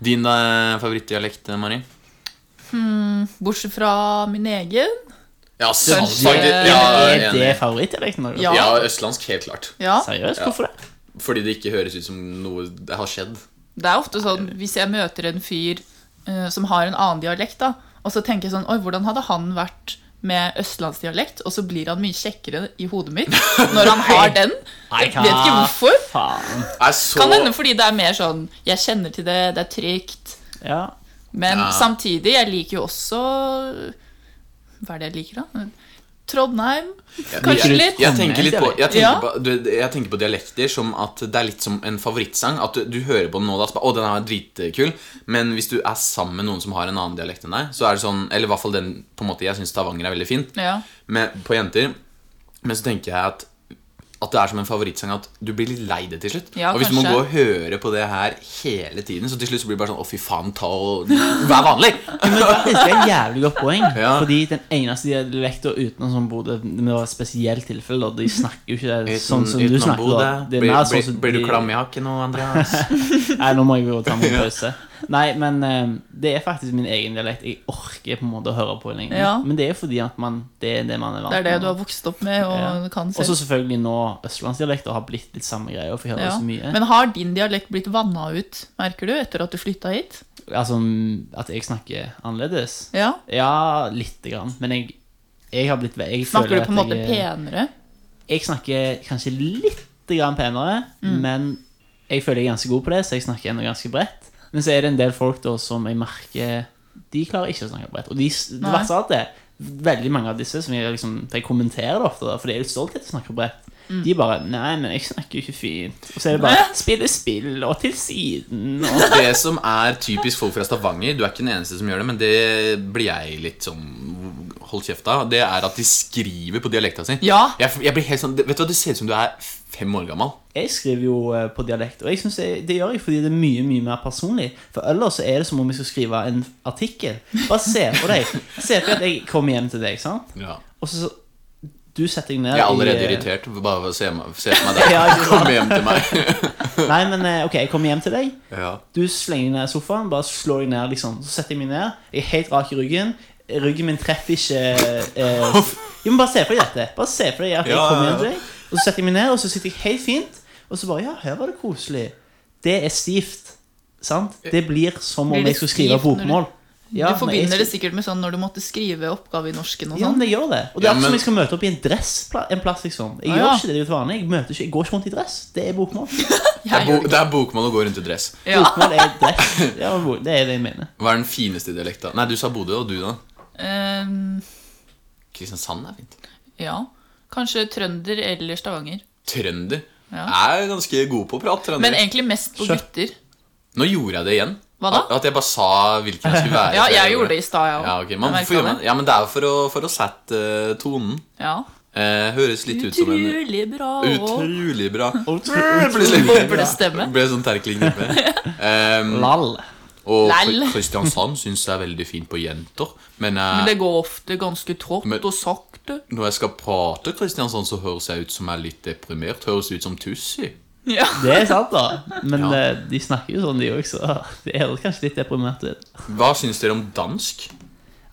Speaker 1: Din eh, favorittdialekt, Mari?
Speaker 4: Bortsett fra min egen.
Speaker 1: Ja, sant,
Speaker 4: Kanskje-
Speaker 1: faktisk. Ja,
Speaker 3: Er
Speaker 1: jeg er
Speaker 3: det
Speaker 1: enig.
Speaker 3: favorittdialekten deres?
Speaker 4: Ja.
Speaker 1: ja, østlandsk, helt klart.
Speaker 4: Ja.
Speaker 3: Seriøst,
Speaker 1: Ja.
Speaker 3: hvorfor det?
Speaker 1: Fordi det ikke høres ut som noe det har skjedd.
Speaker 4: Det er ofte sånn hvis jeg møter en fyr eh, som har en annen dialekt, da, og så tenker jeg sånn Oi, hvordan hadde han vært med østlandsdialekt? Og så blir han mye kjekkere i hodet mitt når han har den. Jeg vet ikke
Speaker 3: hva
Speaker 4: hvorfor.
Speaker 3: Faen.
Speaker 1: Er så...
Speaker 4: Kan hende fordi det er mer sånn Jeg kjenner til det, det er trygt.
Speaker 3: Ja.
Speaker 4: Men
Speaker 1: Ja.
Speaker 4: samtidig, jeg liker jo også Hva er det jeg liker, da? Trondheim? Kanskje
Speaker 1: jeg,
Speaker 4: litt?
Speaker 1: Jeg tenker litt på, jeg tenker,
Speaker 4: Ja.
Speaker 1: på, du, jeg tenker på dialekter som at det er litt som en favorittsang. At du, du hører på den nå, da, så bare, å, den er dritkul. Men hvis du er sammen med noen som har en annen dialekt enn deg, så er det sånn Eller i hvert fall den på en måte jeg syns Stavanger er veldig fint
Speaker 4: Ja.
Speaker 1: med, på jenter. Men så tenker jeg at at det er som en favorittsang at du blir litt lei det til slutt.
Speaker 4: Ja,
Speaker 1: og hvis du må
Speaker 4: kanskje.
Speaker 1: gå og høre på det her hele tiden, så til slutt så blir det bare sånn Å, fy faen, ta og Vær vanlig!
Speaker 3: Men faktisk, det er et jævlig godt poeng.
Speaker 1: Ja.
Speaker 3: Fordi den eneste dialekten utenom som Bodø Det var et spesielt tilfelle, og de snakker jo ikke sånn som du
Speaker 1: utenom
Speaker 3: snakker.
Speaker 1: Bodø.
Speaker 3: da. Det er
Speaker 1: Blir,
Speaker 3: mer sånn
Speaker 1: blir,
Speaker 3: som
Speaker 1: blir du
Speaker 3: de-
Speaker 1: klam i hakken nå, Andreas?
Speaker 3: Nei, nå må jeg jo ta meg en pause. Nei, men eh, det er faktisk min egen dialekt. Jeg orker på en måte å høre på lenger.
Speaker 4: Ja.
Speaker 3: Men det er fordi at man, det er det man er vant
Speaker 4: Det er det du har vokst opp med og
Speaker 3: Ja.
Speaker 4: kan
Speaker 3: Og så
Speaker 4: selv.
Speaker 3: selvfølgelig nå østlandsdialekter har blitt litt samme greia. For jeg hører
Speaker 4: Ja.
Speaker 3: så mye
Speaker 4: Men har din dialekt blitt vanna ut, merker du, etter at du flytta hit?
Speaker 3: Altså at jeg snakker annerledes.
Speaker 4: Ja.
Speaker 3: Ja, lite grann. Men jeg, jeg har blitt ve- jeg føler
Speaker 4: Snakker du på en
Speaker 3: at
Speaker 4: måte
Speaker 3: jeg,
Speaker 4: penere?
Speaker 3: jeg snakker kanskje litt grann penere, men jeg føler jeg er ganske god på det, så jeg snakker ennå ganske bredt. Men så er det en del folk da som jeg merker De klarer ikke å snakke bredt. Og de, det
Speaker 4: Nei.
Speaker 3: verste av alt er veldig mange av disse som jeg, liksom, for jeg kommenterer det ofte, da, for de er litt stolte til å snakke bredt. De bare 'Nei, men jeg snakker jo ikke fint.' Og så er det bare 'Spille spill, og til siden', og
Speaker 1: Det som er typisk folk fra Stavanger, du er ikke den eneste som gjør det, men det blir jeg litt sånn Hold kjeft av. Det er at de skriver på dialekta si.
Speaker 4: Ja.
Speaker 1: Jeg, jeg blir helt sånn, vet du hva, Det ser ut som du er fem år gammel.
Speaker 3: Jeg skriver jo eh, på dialekt, og jeg synes det, det gjør jeg fordi det er mye mye mer personlig. For ellers så er det som om jeg skal skrive en artikkel. Bare se på deg. Se på at jeg kommer hjem til deg, sant? og så Du setter deg ned
Speaker 1: Jeg er allerede
Speaker 3: i- eh,
Speaker 1: irritert. Bare ved å se, meg- se på meg der.
Speaker 3: Ja, ikke sant?
Speaker 1: Kom hjem til meg.
Speaker 3: Nei, men eh, ok, jeg kommer hjem til deg.
Speaker 1: Ja.
Speaker 3: Du slenger deg ned i sofaen, bare slår deg ned, liksom. Så setter jeg meg ned. Jeg er helt rak i ryggen. Ryggen min treffer ikke eh, Jo, men bare se for deg dette. Bare se for deg at jeg
Speaker 1: Ja,
Speaker 3: kommer
Speaker 1: ja, ja.
Speaker 3: hjem til deg, og så setter jeg meg ned, og så sitter jeg helt fint, og så bare Ja, her var det koselig. Det er stivt. Sant? Det blir som om
Speaker 4: Blir det
Speaker 3: jeg skulle skrive
Speaker 4: stivt når du-
Speaker 3: bokmål. Ja,
Speaker 4: du
Speaker 3: men jeg
Speaker 4: forbinder det
Speaker 3: skri-
Speaker 4: sikkert med sånn når du måtte skrive oppgave i norsken og
Speaker 3: Ja, men
Speaker 4: sånn.
Speaker 3: det gjør det. Og det
Speaker 1: Ja,
Speaker 3: er akkurat som
Speaker 1: men-
Speaker 3: jeg skal møte opp i en dress pla- en plass, liksom. Jeg
Speaker 4: Ah,
Speaker 3: gjør
Speaker 4: ja.
Speaker 3: ikke det til vanlig. Jeg, møter ikke, jeg går ikke rundt i dress. Det er bokmål.
Speaker 1: Det er,
Speaker 4: Jeg
Speaker 1: bo,
Speaker 4: gjør det.
Speaker 1: det er bokmål å gå rundt i dress.
Speaker 4: Ja.
Speaker 3: Bokmål er dress. Ja, bo- det er det jeg mener.
Speaker 1: Hva er den fineste dialekta? Nei, du sa Bodø, og du da?
Speaker 4: Ehm,
Speaker 1: Kristiansand er fint.
Speaker 4: ja. Kanskje trønder eller stavanger.
Speaker 1: Trønder
Speaker 4: Ja.
Speaker 1: er ganske god på å prate. trønder.
Speaker 4: Men egentlig mest på
Speaker 3: Skjø-
Speaker 4: gutter.
Speaker 1: Nå gjorde jeg det igjen.
Speaker 4: Hva da?
Speaker 1: At- At jeg bare sa hvilken jeg skulle være.
Speaker 4: Ja,
Speaker 1: før
Speaker 4: jeg gjorde det i stad, jeg òg.
Speaker 1: Ja, ok. Man, får gjøre det. ja, men det er jo for å, for å sette eh, tonen.
Speaker 4: Ja.
Speaker 1: Eh, høres litt ut som en
Speaker 4: Utrolig bra òg.
Speaker 1: utrolig bra
Speaker 3: Utrolig
Speaker 4: Boblestemme.
Speaker 1: Ble sånn terkling-nippe. Um,
Speaker 3: Lall.
Speaker 1: og
Speaker 4: Lall.
Speaker 1: Kristiansand syns jeg er veldig fint på jenter. Men, eh,
Speaker 4: Men det går ofte ganske trått
Speaker 1: Men-
Speaker 4: og sakte.
Speaker 1: når jeg skal prate Kristiansand, så høres jeg ut som jeg er litt deprimert. Høres ut som Tussi.
Speaker 4: Ja.
Speaker 3: Det er sant, da. Men
Speaker 1: Ja.
Speaker 3: eh, de snakker jo sånn, de òg, så det er jo kanskje litt deprimert. ut.
Speaker 1: Hva syns dere om dansk?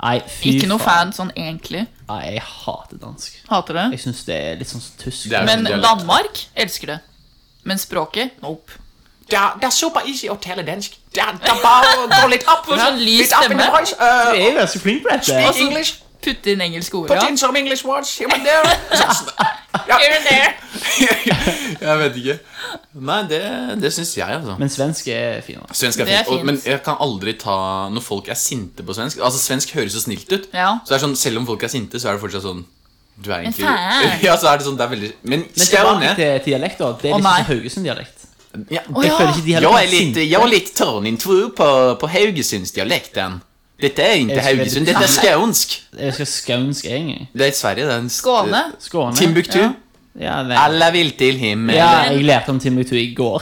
Speaker 3: Nei, fy
Speaker 4: Ikke noe
Speaker 3: faen.
Speaker 4: fan sånn egentlig.
Speaker 3: Nei, jeg hater dansk.
Speaker 4: Hater det.
Speaker 3: Jeg syns det er litt sånn som tysk.
Speaker 1: Det er jo
Speaker 4: Men
Speaker 1: en dialekt.
Speaker 4: Danmark elsker det. Men språket nope.
Speaker 5: Det er, det er super easy å tale dansk. Det er, det er bare å gå litt opp.
Speaker 4: For sånn lys
Speaker 5: Litt opp in the
Speaker 4: stemme.
Speaker 5: voice. Uh,
Speaker 3: Jeg er jo ganske flink på dette.
Speaker 5: English.
Speaker 4: Putte inn engelske ord,
Speaker 5: Put
Speaker 4: ja.
Speaker 5: in some English words here and there. Ja.
Speaker 4: Here and there.
Speaker 1: Jeg vet ikke. Nei, det, det syns jeg, altså.
Speaker 3: Men svensk er finere.
Speaker 1: Svensk er
Speaker 4: Det er
Speaker 1: fint, og,
Speaker 4: fint.
Speaker 1: men jeg kan aldri ta Når folk er sinte på svensk Altså, svensk høres så snilt ut.
Speaker 4: Ja.
Speaker 1: Så det er sånn, Selv om folk er sinte, så er det fortsatt sånn Du er egentlig
Speaker 4: faen!
Speaker 1: Ja, så er det sånn, det er veldig Men
Speaker 3: Men
Speaker 1: skal
Speaker 3: tilbake
Speaker 1: ned!
Speaker 3: til til dialekt, da. Det er
Speaker 4: Å,
Speaker 3: liksom
Speaker 4: nei.
Speaker 3: sånn Haugesund-dialekt.
Speaker 1: Ja.
Speaker 4: Å,
Speaker 3: Jeg
Speaker 4: ja.
Speaker 3: føler ikke de heller
Speaker 1: Jeg
Speaker 3: kan
Speaker 1: er litt,
Speaker 3: sinte.
Speaker 1: jeg er litt tørnintro på, på Haugesundsdialekten. Dette er ikke
Speaker 3: Jeg skal-
Speaker 1: Haugesund, dette er skånsk.
Speaker 3: Jeg skal skånsk, egentlig.
Speaker 1: Det er Sverige, det er en st-
Speaker 4: Skåne.
Speaker 3: Skåne.
Speaker 1: Timbuktu.
Speaker 3: Ja, nei.
Speaker 1: Alla vil til himmel.
Speaker 3: ja, jeg lærte om Timbuktu i går.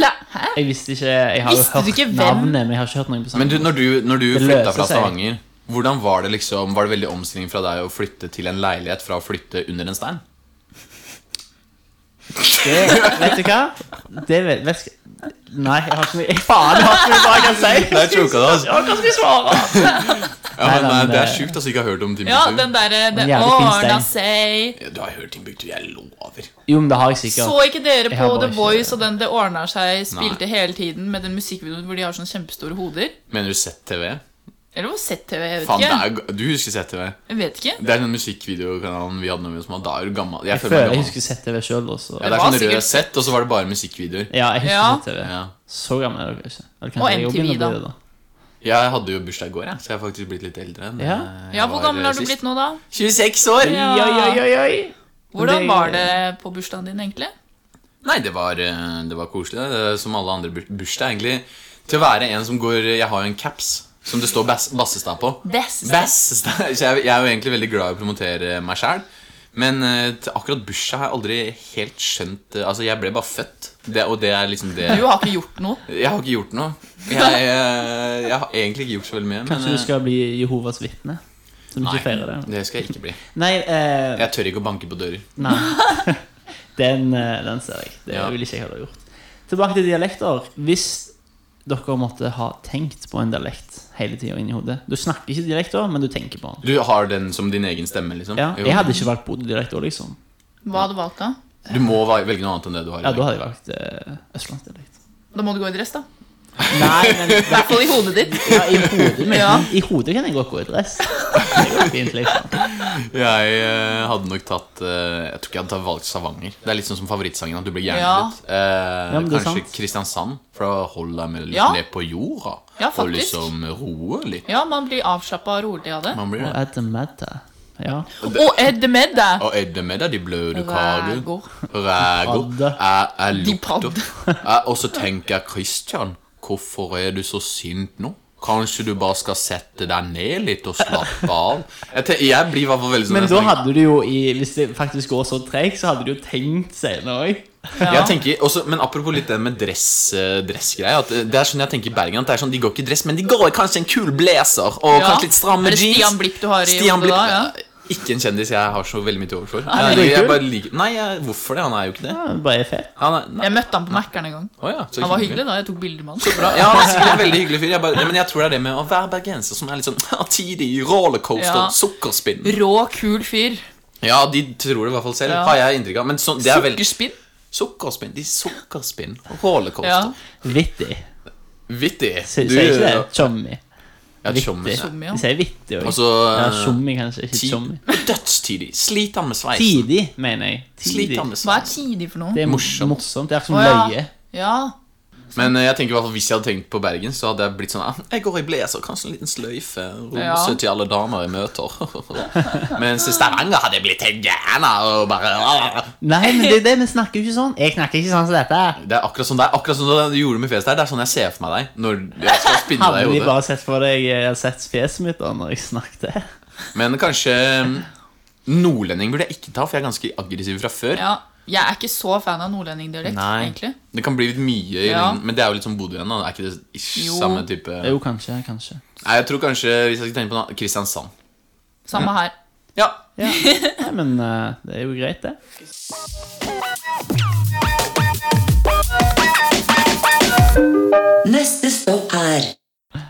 Speaker 4: La, hæ?
Speaker 3: Jeg visste ikke Jeg har jo
Speaker 4: Visste du
Speaker 3: hørt
Speaker 4: ikke hvem?
Speaker 3: navnet, men jeg har ikke hørt noe på
Speaker 1: Men
Speaker 3: sangen.
Speaker 1: du, når du, når du
Speaker 3: Det
Speaker 1: flytta
Speaker 3: løser
Speaker 1: fra
Speaker 3: seg.
Speaker 1: Stavanger, hvordan var det liksom Var det veldig omstilling fra deg å flytte til en leilighet fra å flytte under en stein?
Speaker 3: Det, Eh, vet du hva? Det vet, vet Nei, jeg har ikke mye Faen, jeg har ikke mye bra jeg kan si!
Speaker 1: Jeg choka det, altså.
Speaker 3: Ja, hva skal jeg svare?
Speaker 1: Ja, men,
Speaker 3: Nei,
Speaker 1: nei,
Speaker 3: men
Speaker 1: det er
Speaker 3: det-
Speaker 1: sjukt altså, ikke har hørt om
Speaker 4: Ja,
Speaker 1: Timbuktu.
Speaker 4: den derre
Speaker 3: Men
Speaker 4: det-
Speaker 3: jævlig fin stein.
Speaker 4: Ordna seg.
Speaker 1: Ja, Du har hørt Timbuktu, jeg lover.
Speaker 3: Jo, men det har jeg
Speaker 4: Så
Speaker 3: sikkert.
Speaker 4: ikke dere
Speaker 3: Jeg har
Speaker 4: på
Speaker 3: bare
Speaker 4: The
Speaker 3: ikke-
Speaker 4: Voice og den Det ordna seg spilte hele tiden med den musikkvideoen hvor de har sånne kjempestore hoder?
Speaker 1: Mener du ZTV?
Speaker 4: Eller var det ZTV? Jeg vet
Speaker 1: Faen, det
Speaker 4: ikke.
Speaker 1: er, g- du husker ZTV?
Speaker 4: Jeg vet ikke.
Speaker 1: Det er den musikkvideokanalen vi hadde når vi var små. Da er du gammel. Jeg,
Speaker 3: Jeg
Speaker 1: føler meg
Speaker 3: føler jeg
Speaker 1: gammel.
Speaker 3: husker ZTV sjøl også.
Speaker 1: Ja, det
Speaker 4: Det
Speaker 1: er
Speaker 4: var
Speaker 1: sånn rød
Speaker 4: sikkert-
Speaker 1: sett, og så var det bare musikkvideoer.
Speaker 3: Ja, jeg
Speaker 4: Ja.
Speaker 3: husker ZTV.
Speaker 1: Ja.
Speaker 3: Så gammel er dere ikke. Eller
Speaker 4: Og
Speaker 3: kanskje jeg jo
Speaker 4: MTV
Speaker 3: begynner å
Speaker 4: da.
Speaker 3: bli det, da.
Speaker 1: Jeg hadde jo bursdag i går, jeg, så jeg har faktisk blitt litt eldre. enn eh,
Speaker 3: Ja.
Speaker 1: jeg
Speaker 4: Ja, Hvor
Speaker 1: var,
Speaker 4: gammel
Speaker 1: eh,
Speaker 4: har du
Speaker 1: sist.
Speaker 4: blitt nå, da?
Speaker 1: 26 år!
Speaker 4: Ja.
Speaker 3: Oi, oi, oi, oi.
Speaker 4: Hvordan var det på bursdagen din, egentlig?
Speaker 1: Nei, det var, eh, det var koselig. Det er som alle andre bur- bursdag, egentlig. Til å være en som går Jeg har jo en caps som det står Bass- Bassestad på.
Speaker 4: Best.
Speaker 1: Bassestad. Så jeg, jeg er jo egentlig veldig glad i å promotere meg sjæl. Men eh, til akkurat bursdag har jeg aldri helt skjønt eh, Altså, jeg ble bare født. Det, og det er liksom det
Speaker 4: Du har ikke gjort noe.
Speaker 1: Jeg har ikke gjort noe. Jeg, eh, jeg har egentlig ikke gjort så veldig mye. Men,
Speaker 3: Kanskje du skal bli Jehovas vitne? Som
Speaker 1: eh,
Speaker 3: ikke feirer
Speaker 1: nei,
Speaker 3: det?
Speaker 1: det skal jeg ikke bli.
Speaker 3: Nei, eh,
Speaker 1: Jeg tør ikke å banke på dører.
Speaker 3: nei. Den, eh, den ser jeg. Det
Speaker 1: Ja.
Speaker 3: ville ikke jeg heller gjort. Tilbake til dialekter. Hvis dere måtte ha tenkt på en dialekt hele tida inni hodet Du snakker ikke dialekt da, men du tenker på den.
Speaker 1: Du har den som din egen stemme, liksom?
Speaker 3: Ja,
Speaker 1: Jo.
Speaker 3: jeg hadde ikke valgt Bodø-dialekt òg, liksom.
Speaker 4: Hva hadde du valgt, da?
Speaker 1: Du må va- velge noe annet enn det du har. i
Speaker 3: Ja,
Speaker 1: dag.
Speaker 3: da hadde jeg valgt eh, østlandsdialekt.
Speaker 4: Da må du gå i dress, da.
Speaker 3: Nei, men
Speaker 4: I hvert fall i hodet ditt.
Speaker 3: ja, i hodet mitt
Speaker 4: Ja.
Speaker 3: I hodet kan jeg godt gå i dress. Det går fint, liksom.
Speaker 1: Jeg eh, hadde nok tatt eh, Jeg tror ikke jeg hadde tatt valgt Stavanger. Det er litt sånn som favorittsangen. At du blir gæren
Speaker 4: Ja.
Speaker 1: litt. Eh,
Speaker 3: Ja, men det er
Speaker 1: kanskje
Speaker 3: sant.
Speaker 1: Kristiansand, for å holde deg med litt
Speaker 4: Ja.
Speaker 1: ned på jorda.
Speaker 4: Ja,
Speaker 1: og
Speaker 4: faktisk.
Speaker 1: liksom roe litt.
Speaker 4: Ja, man blir avslappa og rolig av det.
Speaker 1: Man blir
Speaker 3: Og
Speaker 1: det.
Speaker 3: Edmetta. Ja.
Speaker 4: Og Ed med deg!
Speaker 1: Og edde med deg de bløde karer.
Speaker 4: Rægo.
Speaker 1: Rægo.
Speaker 3: Padde.
Speaker 1: Jeg er
Speaker 4: De
Speaker 1: lukta.
Speaker 4: padde.
Speaker 1: Jeg- Og så tenker jeg, Christian, hvorfor er du så sint nå? Kanskje du bare skal sette deg ned litt og slappe av? Jeg, tenker, jeg blir i hvert fall veldig sånn
Speaker 3: Men
Speaker 1: jeg
Speaker 3: da
Speaker 1: snakker-
Speaker 3: hadde du jo i, Hvis det faktisk går så tregt, så hadde du jo tenkt senere òg.
Speaker 4: Ja.
Speaker 1: Jeg tenker, også, men apropos litt det med dress, eh, dressgreia at, eh, Det er sånn jeg tenker i Bergen. At det er sånn, De går ikke i dress, men de går i kanskje en kul blazer og
Speaker 4: Ja.
Speaker 1: kanskje litt stramme
Speaker 4: Er det
Speaker 1: jeans.
Speaker 4: Stian Blipp du har i
Speaker 1: Stian
Speaker 4: hodet
Speaker 1: Blipp,
Speaker 4: da, ja?
Speaker 1: eh, Ikke en kjendis jeg har så veldig mye til overs for. Eh,
Speaker 3: er
Speaker 1: jeg, jeg
Speaker 3: dritkul.
Speaker 1: bare liker, nei, jeg, hvorfor det? Han er jo ikke det.
Speaker 3: Ja, det bare er fett.
Speaker 1: Han er, nei,
Speaker 4: Jeg møtte han på Mækkern en gang.
Speaker 1: å ja, så
Speaker 4: Han var
Speaker 1: hyggelig.
Speaker 4: hyggelig da. Jeg tok bilder med han.
Speaker 1: Bra. Ja, han er sikkert en veldig hyggelig fyr. Jeg bare, ja, men jeg tror det er det med å være bergenser som er litt sånn tidig rollercoaster,
Speaker 4: Ja.
Speaker 1: sukkerspinn.
Speaker 4: Rå, kul fyr.
Speaker 1: Ja, de tror det i hvert fall selv,
Speaker 4: Ja.
Speaker 1: har jeg inntrykk av. Men sånn, det er veldig
Speaker 4: Sukkerspinn.
Speaker 1: Sukkerspinn. De sukkerspinn. Rollercoaster.
Speaker 4: Ja.
Speaker 3: Vittig.
Speaker 1: Vittig.
Speaker 3: Sier sier ikke det? Chommy.
Speaker 1: Ja,
Speaker 3: Vittig.
Speaker 1: tjommis.
Speaker 4: Tjommi, ja.
Speaker 3: De sier vittig òg.
Speaker 1: Og så
Speaker 3: Ja,
Speaker 1: eh,
Speaker 3: tjommi kanskje, ikke
Speaker 1: ti-
Speaker 3: chommy.
Speaker 1: Dødstidig. Sliter med sveisen.
Speaker 3: Tidig, mener jeg. Tidig.
Speaker 1: Sliter med
Speaker 4: Hva er
Speaker 1: sveisen.
Speaker 4: tidig for
Speaker 3: Det
Speaker 4: noe?
Speaker 3: er
Speaker 1: Morsomt.
Speaker 3: morsomt. morsomt. Det er som
Speaker 4: Å, ja.
Speaker 3: løye.
Speaker 4: Ja.
Speaker 1: Men eh, jeg tenker i hvert fall hvis jeg hadde tenkt på Bergen, så hadde jeg blitt sånn ah, Jeg går i blazer, kanskje en liten sløyfe, rose
Speaker 4: Ja.
Speaker 1: til alle damer jeg møter. Mens i Stavanger hadde jeg blitt helt gæren av og bare "Ah,
Speaker 3: Nei, men det er det, vi snakker jo ikke sånn. Jeg snakker ikke sånn som dette.
Speaker 1: Det er akkurat sånn det er akkurat sånn du gjorde med fjeset der. Det er sånn jeg ser for meg deg når jeg skal spinne
Speaker 3: Hadde
Speaker 1: deg
Speaker 3: de
Speaker 1: i hodet.
Speaker 3: bare sett for deg eh, sett fjeset mitt da når jeg snakket?
Speaker 1: Men kanskje mm, nordlending burde jeg ikke ta, for jeg er ganske aggressiv fra før.
Speaker 4: ja. Jeg er ikke så fan av nordlendingdialekt,
Speaker 1: Nei.
Speaker 4: egentlig.
Speaker 1: Det kan bli litt mye, i
Speaker 4: Ja.
Speaker 1: lengden, men det er jo litt sånn Bodø igjen. da. Er ikke det ish,
Speaker 4: Jo.
Speaker 1: samme type
Speaker 3: Jo, kanskje. kanskje
Speaker 1: Nei, jeg tror kanskje, hvis jeg skal tenke på noe, Kristiansand.
Speaker 4: Samme her.
Speaker 1: Ja.
Speaker 3: ja. Nei, men eh, det er jo greit, det.
Speaker 2: Neste stopp er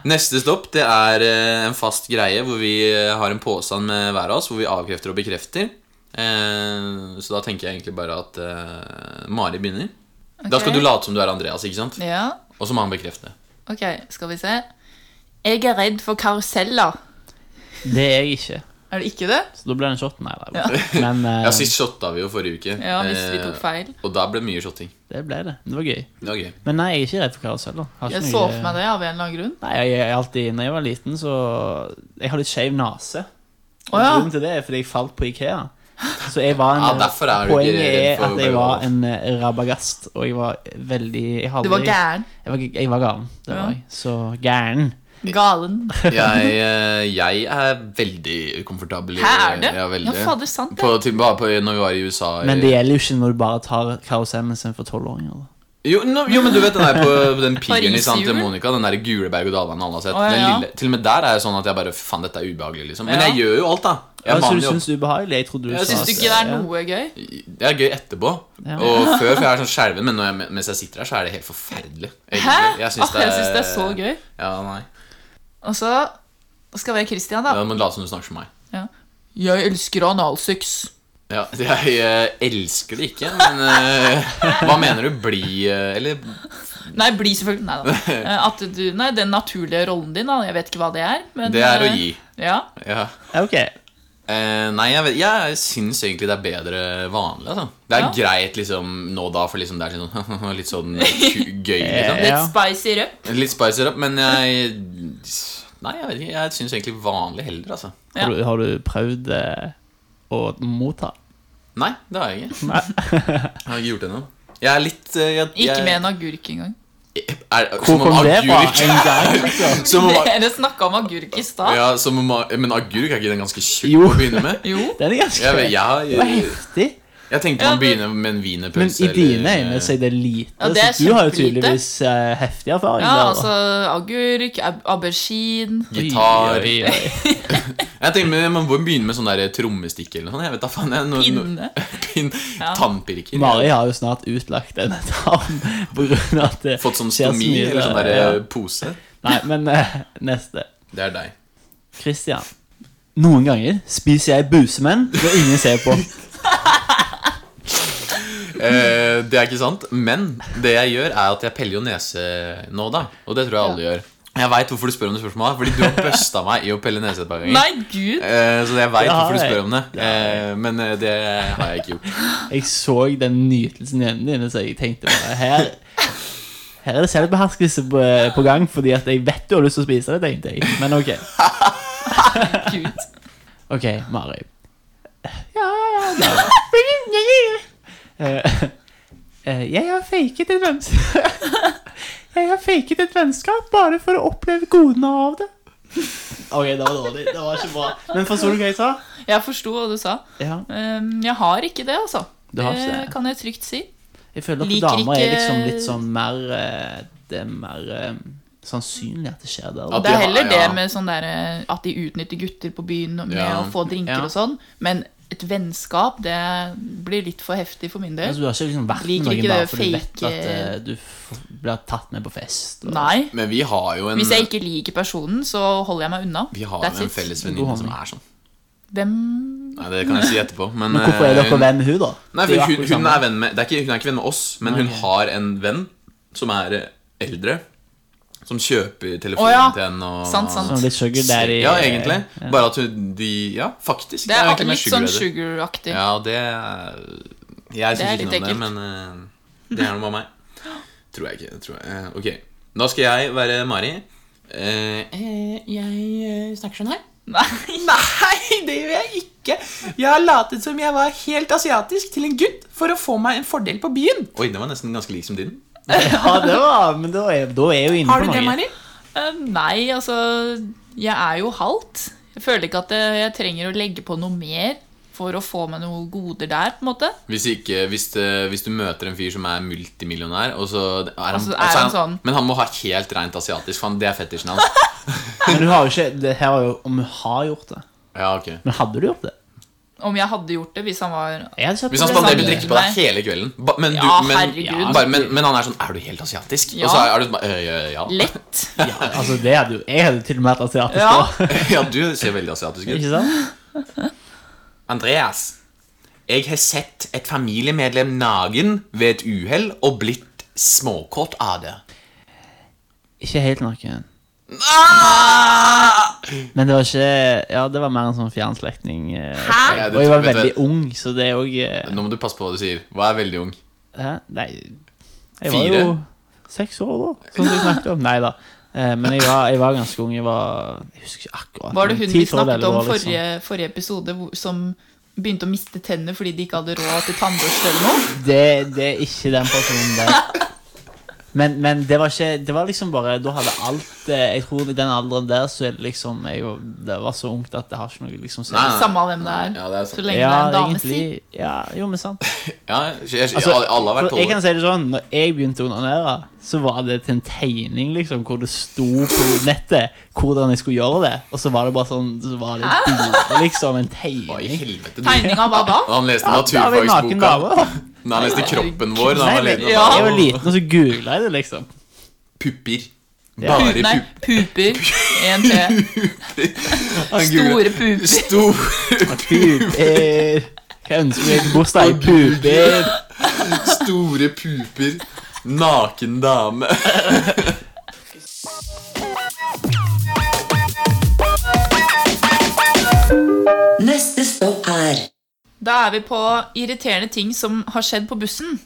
Speaker 1: Neste stopp det er eh, en fast greie hvor vi eh, har en påstand med hver av oss, hvor vi avkrefter og bekrefter. Eh, så da tenker jeg egentlig bare at eh, Mari begynner. Da skal
Speaker 4: Ok.
Speaker 1: du late som du er Andreas, ikke sant?
Speaker 4: Ja,
Speaker 1: Og så må han bekrefte.
Speaker 4: ok, skal vi se. Jeg er redd for karuseller.
Speaker 3: Det er jeg ikke.
Speaker 4: Er det ikke det?
Speaker 3: Så da blir det en shot. Nei da. Men eh,
Speaker 1: Ja, Sist shotta vi jo forrige uke.
Speaker 4: Ja, hvis vi tok
Speaker 1: Eh,
Speaker 4: feil.
Speaker 1: Og da ble det mye shotting.
Speaker 3: det ble det. Det var gøy.
Speaker 1: Det var gøy.
Speaker 3: Men nei, jeg er ikke redd for karusell. da. Har ikke
Speaker 4: Jeg
Speaker 3: noe-
Speaker 4: så for meg det av en eller annen grunn.
Speaker 3: Nei, jeg, jeg, alltid, når jeg var liten, så Jeg har litt skeiv nese. Og
Speaker 4: Å ja.
Speaker 3: Grunnen til det er fordi jeg falt på Ikea. Så jeg var en,
Speaker 1: Ja, derfor er du ikke
Speaker 3: Poenget
Speaker 1: redd
Speaker 3: er
Speaker 1: for
Speaker 3: at
Speaker 1: Bergdal.
Speaker 3: jeg var en eh, rabagast, og jeg var veldig jeg hadde,
Speaker 4: Du var gæren.
Speaker 3: Jeg var, jeg var gæren. Det
Speaker 4: Ja.
Speaker 3: var jeg. Så gæren.
Speaker 4: Galen.
Speaker 1: Jeg, eh, jeg er veldig ukomfortabel. i-
Speaker 4: Hæ, er det?
Speaker 1: Ja, veldig.
Speaker 4: Ja, fader, sant det.
Speaker 1: På, til, bare på, når vi var i USA eh, i-
Speaker 3: Men det gjelder jo ikke når du bare tar karusellen sin for tolvåringer. da.
Speaker 1: jo, nå- jo, men du vet den der på den pilen i Santa
Speaker 4: Pariserhjul.
Speaker 1: Monica, den der gule berg-og-dal-banen alle har sett.
Speaker 4: Å,
Speaker 1: den
Speaker 4: ja.
Speaker 1: lille, til og med der er jeg sånn at jeg bare Faen, dette er ubehagelig, liksom. Men
Speaker 4: Ja.
Speaker 1: jeg gjør jo alt, da. Jeg
Speaker 3: Ja, så
Speaker 1: maner jo
Speaker 3: du
Speaker 1: opp.
Speaker 3: syns det er ubehagelig? Jeg trodde du
Speaker 1: Jeg
Speaker 3: sa
Speaker 4: Syns du ikke det er noe gøy?
Speaker 1: Det er gøy etterpå.
Speaker 3: Ja.
Speaker 1: Og før, for jeg er sånn skjelven, men når jeg, mens jeg sitter her, så er det helt forferdelig. egentlig.
Speaker 4: Hæ?
Speaker 1: Jeg syns
Speaker 4: Ah,
Speaker 1: det,
Speaker 4: jeg syns det er så gøy.
Speaker 1: Ja, nei.
Speaker 4: Og så skal jeg være Christian,
Speaker 1: Ja,
Speaker 4: da.
Speaker 1: men late som du snakker som meg.
Speaker 4: Ja. Jeg elsker analsex.
Speaker 1: Ja, jeg eh, elsker det ikke, men eh, hva mener du? Bli eh, Eller
Speaker 4: Nei, bli selvfølgelig Nei da. Eh, At du, nei, den naturlige rollen din, da. Jeg vet ikke hva det er. Men,
Speaker 1: Det er å
Speaker 4: eh,
Speaker 1: gi.
Speaker 4: Ja.
Speaker 1: Ja.
Speaker 3: Ja, Ok.
Speaker 1: Eh, nei, jeg, vet- jeg syns egentlig det er bedre vanlig. Altså. Det er
Speaker 4: Ja.
Speaker 1: greit liksom, nå og da, for liksom, det er litt sånn, litt sånn ku- gøy. Liksom.
Speaker 4: Litt
Speaker 3: Ja.
Speaker 4: spicy røp.
Speaker 1: Litt spicer up, men jeg Nei, jeg vet ikke. Jeg syns egentlig vanlig heller, altså.
Speaker 3: Har, du, har du prøvd eh, å motta?
Speaker 1: Nei, det har jeg ikke.
Speaker 3: Nei.
Speaker 1: Jeg har ikke gjort det ennå. Jeg er litt eh, jeg,
Speaker 4: Ikke
Speaker 1: jeg,
Speaker 4: med en agurk engang.
Speaker 1: Er,
Speaker 3: Hvor
Speaker 1: som om
Speaker 3: kom det fra?
Speaker 1: agurk-
Speaker 3: En gang, liksom?
Speaker 1: Som om,
Speaker 4: Dere snakka om agurk i stad.
Speaker 1: ja, som om, men agurk er ikke den ganske tjukk
Speaker 3: Jo.
Speaker 1: å begynne med?
Speaker 4: Jo.
Speaker 3: Den er ganske
Speaker 1: Jeg, vet-
Speaker 3: Det
Speaker 1: jeg,
Speaker 3: var
Speaker 1: jeg,
Speaker 3: heftig.
Speaker 1: tenkte
Speaker 4: Ja,
Speaker 1: man
Speaker 4: men-
Speaker 1: begynner med en
Speaker 3: Men
Speaker 1: wienerpølse.
Speaker 3: i dine
Speaker 1: eller-
Speaker 3: øyne så er det lite.
Speaker 4: Ja, det er
Speaker 3: så du har jo
Speaker 4: kjempelite.
Speaker 3: tydeligvis eh, heftig erfaring.
Speaker 4: Ja,
Speaker 3: der, da.
Speaker 4: altså agurk, ab- aubergine
Speaker 1: Gitar
Speaker 3: Oi, oi, oi.
Speaker 1: Jeg tenker men Man må begynne med sånn der trommestikke eller noe sånt. Jeg vet da faen. Jeg, no,
Speaker 4: Pinne.
Speaker 1: pin,
Speaker 4: Ja.
Speaker 1: Tannpirker.
Speaker 3: Mari har jo snart utlagt en tarm på grunn av at det
Speaker 1: Fått sånn
Speaker 3: skjer så
Speaker 1: stomi
Speaker 3: mye
Speaker 1: eller sånn
Speaker 3: der,
Speaker 1: der
Speaker 3: ja.
Speaker 1: eh, pose.
Speaker 3: Nei, men eh, neste.
Speaker 1: Det er deg.
Speaker 3: Christian. Noen ganger spiser jeg busemenn når ingen ser på.
Speaker 1: Eh, det er ikke sant, men det jeg gjør, er at jeg peller jo nese nå, da. Og det tror jeg alle gjør. Jeg veit hvorfor du spør om det spørsmålet, fordi du har busta meg i å pelle nese et par ganger.
Speaker 4: Nei, gud!
Speaker 1: Eh, så jeg veit
Speaker 3: Det har
Speaker 1: hvorfor du
Speaker 3: jeg.
Speaker 1: spør om det. Eh, men eh, det har jeg ikke gjort.
Speaker 3: Jeg så den nytelsen i øynene dine, så jeg tenkte bare her her er det selvbeherskelse på, eh, på gang, fordi at jeg vet du har lyst til å spise det, tenkte jeg. Men ok.
Speaker 4: gud.
Speaker 3: Ok, Mari. Ja, ja, ja. Eh, eh, Jeg har faket et vennskap Jeg har faket et vennskap bare for å oppleve godene av det. Ok, det var dårlig. Det var ikke bra. Men forsto du hva jeg sa?
Speaker 4: Jeg forsto hva du sa.
Speaker 3: Ja,
Speaker 4: Ehm, Jeg har ikke det, altså.
Speaker 3: Du har ikke det?
Speaker 4: kan jeg trygt si.
Speaker 3: Jeg føler at
Speaker 4: Liker
Speaker 3: damer er
Speaker 4: ikke-
Speaker 3: liksom litt sånn mer eh, Det er mer eh, sannsynlig at det skjer der.
Speaker 1: At
Speaker 4: Det
Speaker 1: de
Speaker 4: er
Speaker 1: har-
Speaker 4: heller
Speaker 1: ja.
Speaker 4: det med sånn der, eh, at de utnytter gutter på byen med
Speaker 1: Ja.
Speaker 4: å få drinker
Speaker 3: Ja.
Speaker 4: og sånn, men et vennskap det blir litt for heftig for min del.
Speaker 3: Altså, du har ikke liksom vært med
Speaker 4: Liker
Speaker 3: noen
Speaker 4: ikke
Speaker 3: bare
Speaker 4: det
Speaker 3: for du vet
Speaker 4: fake-
Speaker 3: at eh, du f blir tatt med på fest. og-
Speaker 4: Nei.
Speaker 1: Men vi har jo en,
Speaker 4: Hvis jeg ikke liker personen, så holder jeg meg unna.
Speaker 1: vi har
Speaker 4: That's
Speaker 1: jo en
Speaker 4: it.
Speaker 1: felles
Speaker 3: God
Speaker 1: venninne som
Speaker 3: holdning.
Speaker 1: er sånn.
Speaker 4: Hvem
Speaker 1: Nei, Det kan jeg si etterpå. Men,
Speaker 3: Men hvorfor er
Speaker 1: eh,
Speaker 3: dere venn med hun da?
Speaker 1: Nei,
Speaker 3: Det er jo
Speaker 1: for hun,
Speaker 3: akkurat
Speaker 1: hun,
Speaker 3: samme.
Speaker 1: er venn med, det er ikke, hun er ikke venn med oss, men hun har en venn som er eh, eldre. Som kjøper telefonen
Speaker 4: Å ja.
Speaker 1: til henne. Og,
Speaker 4: Sant, sant.
Speaker 3: Sånn litt sugar daddy.
Speaker 1: Ja, egentlig.
Speaker 3: Ja.
Speaker 1: Bare at hun de, Ja, faktisk.
Speaker 4: Det er
Speaker 1: egentlig mer
Speaker 4: litt sånn
Speaker 1: daddy.
Speaker 4: sugar-aktig.
Speaker 1: Ja, det er- Jeg
Speaker 4: Det er
Speaker 1: syns ikke
Speaker 4: litt
Speaker 1: noe om det,
Speaker 4: ekkelt.
Speaker 1: men eh, det er noe med meg. Tror jeg ikke. Tror jeg. Eh, Ok. Da skal jeg være Mari. Eh, eh, jeg eh, snakker sånn her.
Speaker 4: Nei.
Speaker 5: Nei, det gjør jeg ikke. Jeg har latet som jeg var helt asiatisk til en gutt for å få meg en fordel på byen.
Speaker 1: Oi, den var nesten ganske lik som din.
Speaker 3: Ja, det var Men da er, da er jo inne
Speaker 5: Har
Speaker 3: på
Speaker 5: du
Speaker 3: noe.
Speaker 5: det, Mari?
Speaker 4: Eh, Nei, altså Jeg er jo halvt. Jeg føler ikke at eh, jeg trenger å legge på noe mer for å få meg noen goder der, på en måte.
Speaker 1: Hvis, ikke, hvis, det, hvis du møter en fyr som er multimillionær og så er han,
Speaker 4: så er
Speaker 1: og så er
Speaker 4: han sånn.
Speaker 1: Men han må ha helt rent asiatisk, for han, det er fetisjen hans.
Speaker 3: Men du har jo ikke det her var jo om hun har gjort det.
Speaker 1: Ja, ok
Speaker 3: Men hadde du gjort det?
Speaker 4: Om jeg hadde gjort det hvis han var
Speaker 3: Jeg hadde ikke hatt
Speaker 1: Hvis han
Speaker 3: problemer
Speaker 1: spanderer
Speaker 3: med det.
Speaker 1: drikke på deg hele kvelden ba, men, du,
Speaker 4: Ja,
Speaker 1: men,
Speaker 4: herregud.
Speaker 1: bare, men, men han er sånn 'Er du helt asiatisk?'
Speaker 4: Ja.
Speaker 1: Og så er, er du sånn bare, «Øh, Ja.
Speaker 4: lett
Speaker 3: Ja, altså, det hadde jo Jeg hadde til og med hatt asiatisk
Speaker 4: Ja.
Speaker 3: også.
Speaker 1: ja, du ser veldig asiatisk ut.
Speaker 3: Ikke sant?
Speaker 1: Andreas, jeg har sett et familiemedlem nagen ved et uhell og blitt småkåt av det. Ah!
Speaker 3: Ikke helt naken. Men det var ikke Ja, det var mer en sånn fjern slektning. eh,
Speaker 4: Hæ?
Speaker 1: Ja,
Speaker 3: Og
Speaker 1: det
Speaker 3: jeg var
Speaker 1: tror jeg-
Speaker 3: veldig ung, så det er eh, òg
Speaker 1: Nå må du passe på hva du sier. Hva er veldig ung?
Speaker 3: Hæ? Nei Jeg var
Speaker 1: Fire?
Speaker 3: jo seks år da, som du snakket om. Nei da. Eh, Men jeg var, jeg var ganske ung. Jeg var Jeg husker ikke akkurat.
Speaker 4: Var det
Speaker 3: men
Speaker 4: hun
Speaker 3: 10-12
Speaker 4: vi snakket
Speaker 3: eller
Speaker 4: om
Speaker 3: noe, liksom.
Speaker 4: forrige, forrige episode, hvor- som begynte å miste tenner fordi de ikke hadde råd til tannbørste eller noe?
Speaker 3: Det, det er ikke den personen der. Men, men det var ikke Det var liksom bare Da hadde alt eh, Jeg tror i den alderen der så er det liksom jeg, jo- Det var så ungt at det har ikke noe liksom
Speaker 1: Nei, nei.
Speaker 4: Samme av hvem det er.
Speaker 1: Ja, det er
Speaker 4: Så
Speaker 1: sant.
Speaker 4: lenge det er en dame, si.
Speaker 3: egentlig Ja, jo, men sant.
Speaker 1: Ja, jeg, jeg,
Speaker 3: Altså,
Speaker 1: alle- alle har vært
Speaker 3: for jeg
Speaker 1: tolv.
Speaker 3: kan si det sånn Når jeg begynte å onanere, så var det til en tegning liksom hvor det sto på nettet hvordan jeg skulle gjøre det. Og så var det bare sånn Så var det et bilde, liksom. En
Speaker 1: Hva i
Speaker 3: tegning.
Speaker 1: helvete? du-
Speaker 4: Tegning av hva da?
Speaker 1: Han leste
Speaker 3: Da var jeg naken
Speaker 1: naturfagsboka.
Speaker 3: dame.
Speaker 1: Når han leste kroppen vår da han
Speaker 3: Nei,
Speaker 1: var
Speaker 3: men,
Speaker 1: liten.
Speaker 3: jeg var
Speaker 1: og-
Speaker 3: liten, og så googla jeg det, liksom.
Speaker 1: Pupper.
Speaker 3: Ja.
Speaker 1: Bare
Speaker 4: Pu- Nei,
Speaker 1: pupper.
Speaker 4: puper. En til. Store puper.
Speaker 1: Store,
Speaker 3: Puper. Hva ønsker jeg til bursdag? Puper.
Speaker 1: store puper. Naken dame.
Speaker 2: Neste stopp er
Speaker 4: Da er vi på irriterende ting som har skjedd på bussen.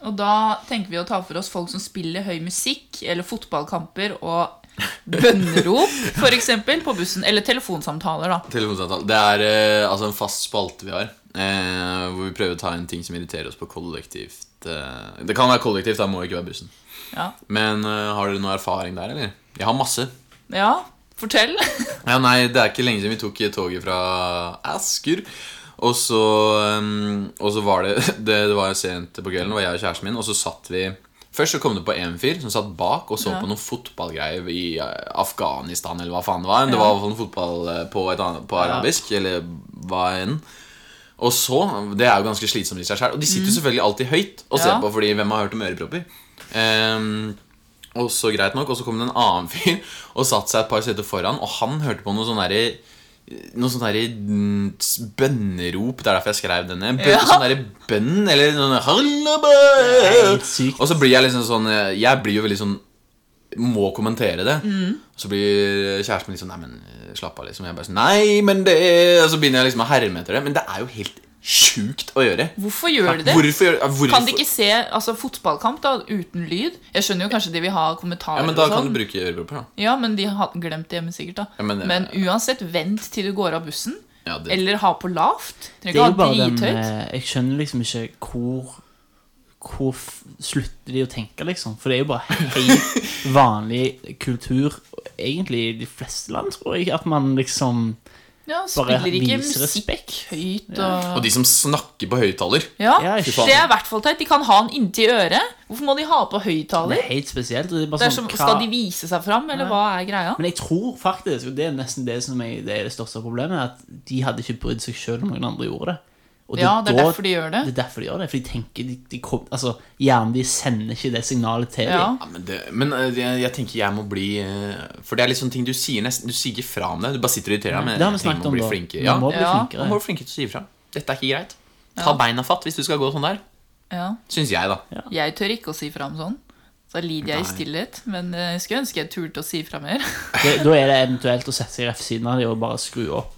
Speaker 4: Og da tenker vi å ta for oss folk som spiller høy musikk eller fotballkamper og bønnerop, f.eks. på bussen. Eller telefonsamtaler, da.
Speaker 1: Telefonsamtale. Det er eh, altså en fast spalte vi har. Eh, hvor vi prøver å ta inn ting som irriterer oss på kollektivt eh, Det kan være kollektivt, da må det ikke være bussen.
Speaker 4: Ja.
Speaker 1: Men eh, har dere noe erfaring der, eller? Jeg har masse.
Speaker 4: ja fortell.
Speaker 1: Ja, nei, det er ikke lenge siden vi tok toget fra Asker. Og så, um, og så var det, det Det var sent på kvelden, det var jeg og kjæresten min, og så satt vi Først så kom det på en fyr som satt bak og så på noen fotballgreier i eh, Afghanistan, eller hva faen det var. Det var i hvert fall noe fotball eh, på, et annet, på arabisk, eller hva enn. Og så, Det er jo ganske slitsomt i seg selv Og de sitter jo selvfølgelig alltid høyt og ser
Speaker 4: Ja.
Speaker 1: på, fordi hvem har hørt om ørepropper? Ehm, og så greit nok, og så kom det en annen fyr og satte seg et par seter foran, og han hørte på noe sånn derre noe sånn derre mm, s- bønnerop. Det er derfor jeg skrev denne. Bø
Speaker 4: Ja.
Speaker 1: Sånn derre bønn, eller sånn Hallaba!
Speaker 3: helt sykt.
Speaker 1: Og så blir jeg liksom sånn eh, Jeg blir jo veldig sånn Må kommentere det.
Speaker 4: Mm.
Speaker 1: Og så blir kjæresten min liksom Nei, men eh, slapp av, liksom. Jeg bare sånn Nei, men det er Og så begynner jeg liksom å herme etter det. Men det er jo helt sjukt å gjøre.
Speaker 4: Hvorfor gjør de det?
Speaker 1: Hvorfor gjør ja, hvorfor?
Speaker 4: Kan de ikke se altså, fotballkamp da, uten lyd? Jeg skjønner jo kanskje de vil ha kommentarer.
Speaker 1: Ja, men da
Speaker 4: og
Speaker 1: kan
Speaker 4: sånn.
Speaker 1: du bruke ørepropper, da.
Speaker 4: ja, men de har glemt det hjemme sikkert. da
Speaker 1: Ja, men- eh,
Speaker 4: uansett, vent til du går av bussen.
Speaker 1: Ja, det-
Speaker 4: Eller ha på lavt. Trenger
Speaker 3: Det er jo
Speaker 4: ikke ha
Speaker 3: bare den
Speaker 4: drithøyt.
Speaker 3: eh, Jeg skjønner liksom ikke hvor Hvor f- slutter de å tenke, liksom? For det er jo bare helt vanlig kultur, egentlig i de fleste land, tror jeg, at man liksom
Speaker 4: Ja,
Speaker 3: bare
Speaker 4: spiller ikke
Speaker 3: viser
Speaker 4: musikk
Speaker 3: respekt.
Speaker 4: høyt og
Speaker 1: Og de som snakker på høyttaler.
Speaker 4: Ja,
Speaker 3: Ja, fy faen.
Speaker 4: det er i hvert fall teit. De kan ha den inntil øret. Hvorfor må de ha på
Speaker 3: Det
Speaker 4: høyttaler?
Speaker 3: er helt spesielt. og Det er
Speaker 4: Det
Speaker 3: bare
Speaker 4: er som,
Speaker 3: sånn, hva-
Speaker 4: skal de vise seg fram, eller hva er greia?
Speaker 3: Men jeg tror faktisk, og det er nesten det som er det, er det største problemet, at de hadde ikke brydd seg sjøl om noen andre gjorde det. Og
Speaker 4: Ja, det er
Speaker 3: da-
Speaker 4: derfor de gjør det.
Speaker 3: Det er derfor de gjør det, for de tenker de, de kom, altså, Hjernen de sender ikke det signalet til
Speaker 4: Ja.
Speaker 1: Ja, men det, men eh, jeg, jeg tenker jeg må bli eh, For det er litt sånn ting du sier nesten Du sier ikke fra om det. Du bare sitter og irriterer deg. Men
Speaker 3: Det har vi
Speaker 1: jeg tenker
Speaker 3: snakket
Speaker 1: man
Speaker 3: om
Speaker 1: blir
Speaker 3: da.
Speaker 1: flinkere.
Speaker 3: Man må
Speaker 1: Ja,
Speaker 3: bli
Speaker 4: Ja,
Speaker 1: man må
Speaker 3: flinkere.
Speaker 1: bli flinkere til å si ifra. Dette er ikke greit. Ta beina fatt hvis du skal gå sånn der.
Speaker 4: Ja.
Speaker 1: Syns jeg, da.
Speaker 4: Jeg tør ikke å si fram sånn. Så lider jeg i stillhet. Men eh, jeg skulle ønske jeg turte å si fra mer.
Speaker 3: Det, da er det eventuelt å sette seg rett ved siden av dem og bare skru opp.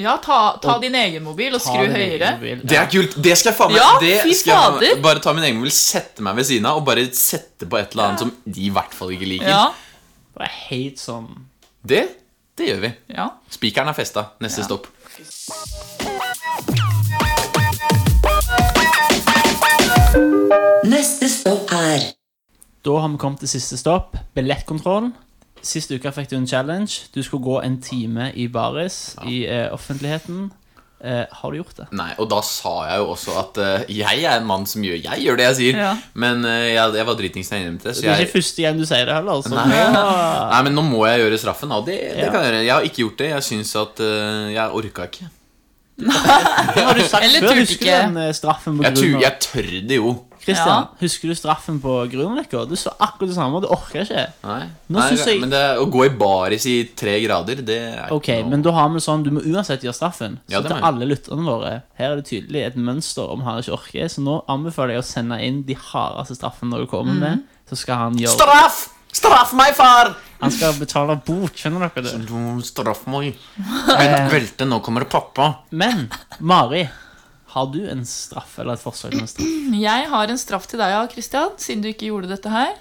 Speaker 4: Ja, ta, ta din egen mobil og
Speaker 3: Ta
Speaker 4: skru
Speaker 3: din egen
Speaker 4: høyere.
Speaker 3: mobil.
Speaker 1: Det er kult! Det skal jeg faen meg
Speaker 4: Ja,
Speaker 1: det
Speaker 4: fy
Speaker 1: skal jeg faen meg-
Speaker 4: fader.
Speaker 1: Bare ta min egen mobil, sette meg ved siden av og bare sette på et eller annet som de i hvert fall ikke liker.
Speaker 4: Ja,
Speaker 3: Det er helt sånn
Speaker 1: Det, det gjør vi.
Speaker 4: ja.
Speaker 1: Spikeren er festa. Neste stopp.
Speaker 2: Neste stopp er
Speaker 3: Da har vi kommet til siste stopp. Billettkontrollen. Sist uke fikk du en challenge. Du skulle gå en time i baris i eh, offentligheten. Eh, har du gjort det?
Speaker 1: Nei, og da sa jeg jo også at eh, jeg er en mann som gjør Jeg gjør det jeg sier.
Speaker 4: Ja.
Speaker 1: Men eh, jeg, jeg var dritings da jeg innrømte det. så
Speaker 3: Det er
Speaker 1: jeg-
Speaker 3: ikke første gang du sier det heller. altså. Så.
Speaker 1: Nei. Nei, men nå må jeg gjøre straffen. da, Og det, det
Speaker 3: Ja.
Speaker 1: kan jeg gjøre. Jeg har ikke gjort det. Jeg syns at øh, Jeg orka ikke.
Speaker 3: Det har du sagt
Speaker 4: Eller
Speaker 3: før.
Speaker 4: turte
Speaker 3: Husker du
Speaker 4: ikke.
Speaker 3: den eh, straffen på
Speaker 1: Jeg, tu,
Speaker 3: grunn av
Speaker 1: jeg tør det jo.
Speaker 3: Christian,
Speaker 4: Ja.
Speaker 3: husker du straffen på Grünerløkka? Du så akkurat det samme, og du orker ikke.
Speaker 1: Nei,
Speaker 3: Nå
Speaker 1: Nei
Speaker 3: synes jeg-
Speaker 1: Men det, å gå i baris i tre grader, det er
Speaker 3: Ok,
Speaker 1: ikke
Speaker 3: men da har vi sånn, du må uansett gjøre straffen. Så
Speaker 1: Ja, det må
Speaker 3: til
Speaker 1: jeg.
Speaker 3: alle lytterne våre, her er det tydelig et mønster om han ikke orker, så nå anbefaler jeg å sende inn de hardeste straffene dere kommer med, så skal han gjøre
Speaker 1: Straff! Straff meg, far!
Speaker 3: Han skal betale bot, skjønner dere det? Eh,
Speaker 1: Du straff meg. Vent, velte, nå kommer det pappa.
Speaker 3: Men Mari, har du en straff eller et forslag til en straff?
Speaker 4: Jeg har en straff til deg, ja, Christian, siden du ikke gjorde dette her.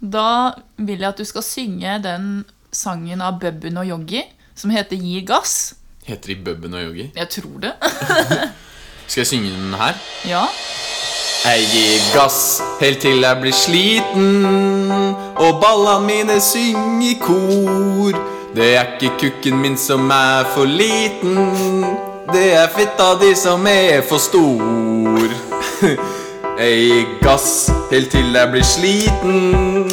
Speaker 4: Da vil jeg at du skal synge den sangen av Bubben og Joggi som heter Gi gass.
Speaker 1: Heter de Bubben og Yogi?
Speaker 4: Jeg tror det.
Speaker 1: Skal jeg synge den her?
Speaker 4: Ja.
Speaker 1: Jeg gir gass helt til jeg blir sliten, og balla mine synger i kor. Det er ikke kukken min som er for liten, det er fitta di som er for stor. Jeg gir gass helt til jeg blir sliten,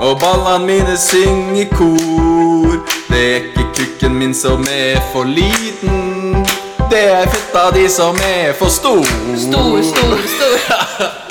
Speaker 1: og ballene mine synger i kor. Det er ikke kukken min som er for liten, det er fitta di som er for stor.
Speaker 4: Stor, stor, stor.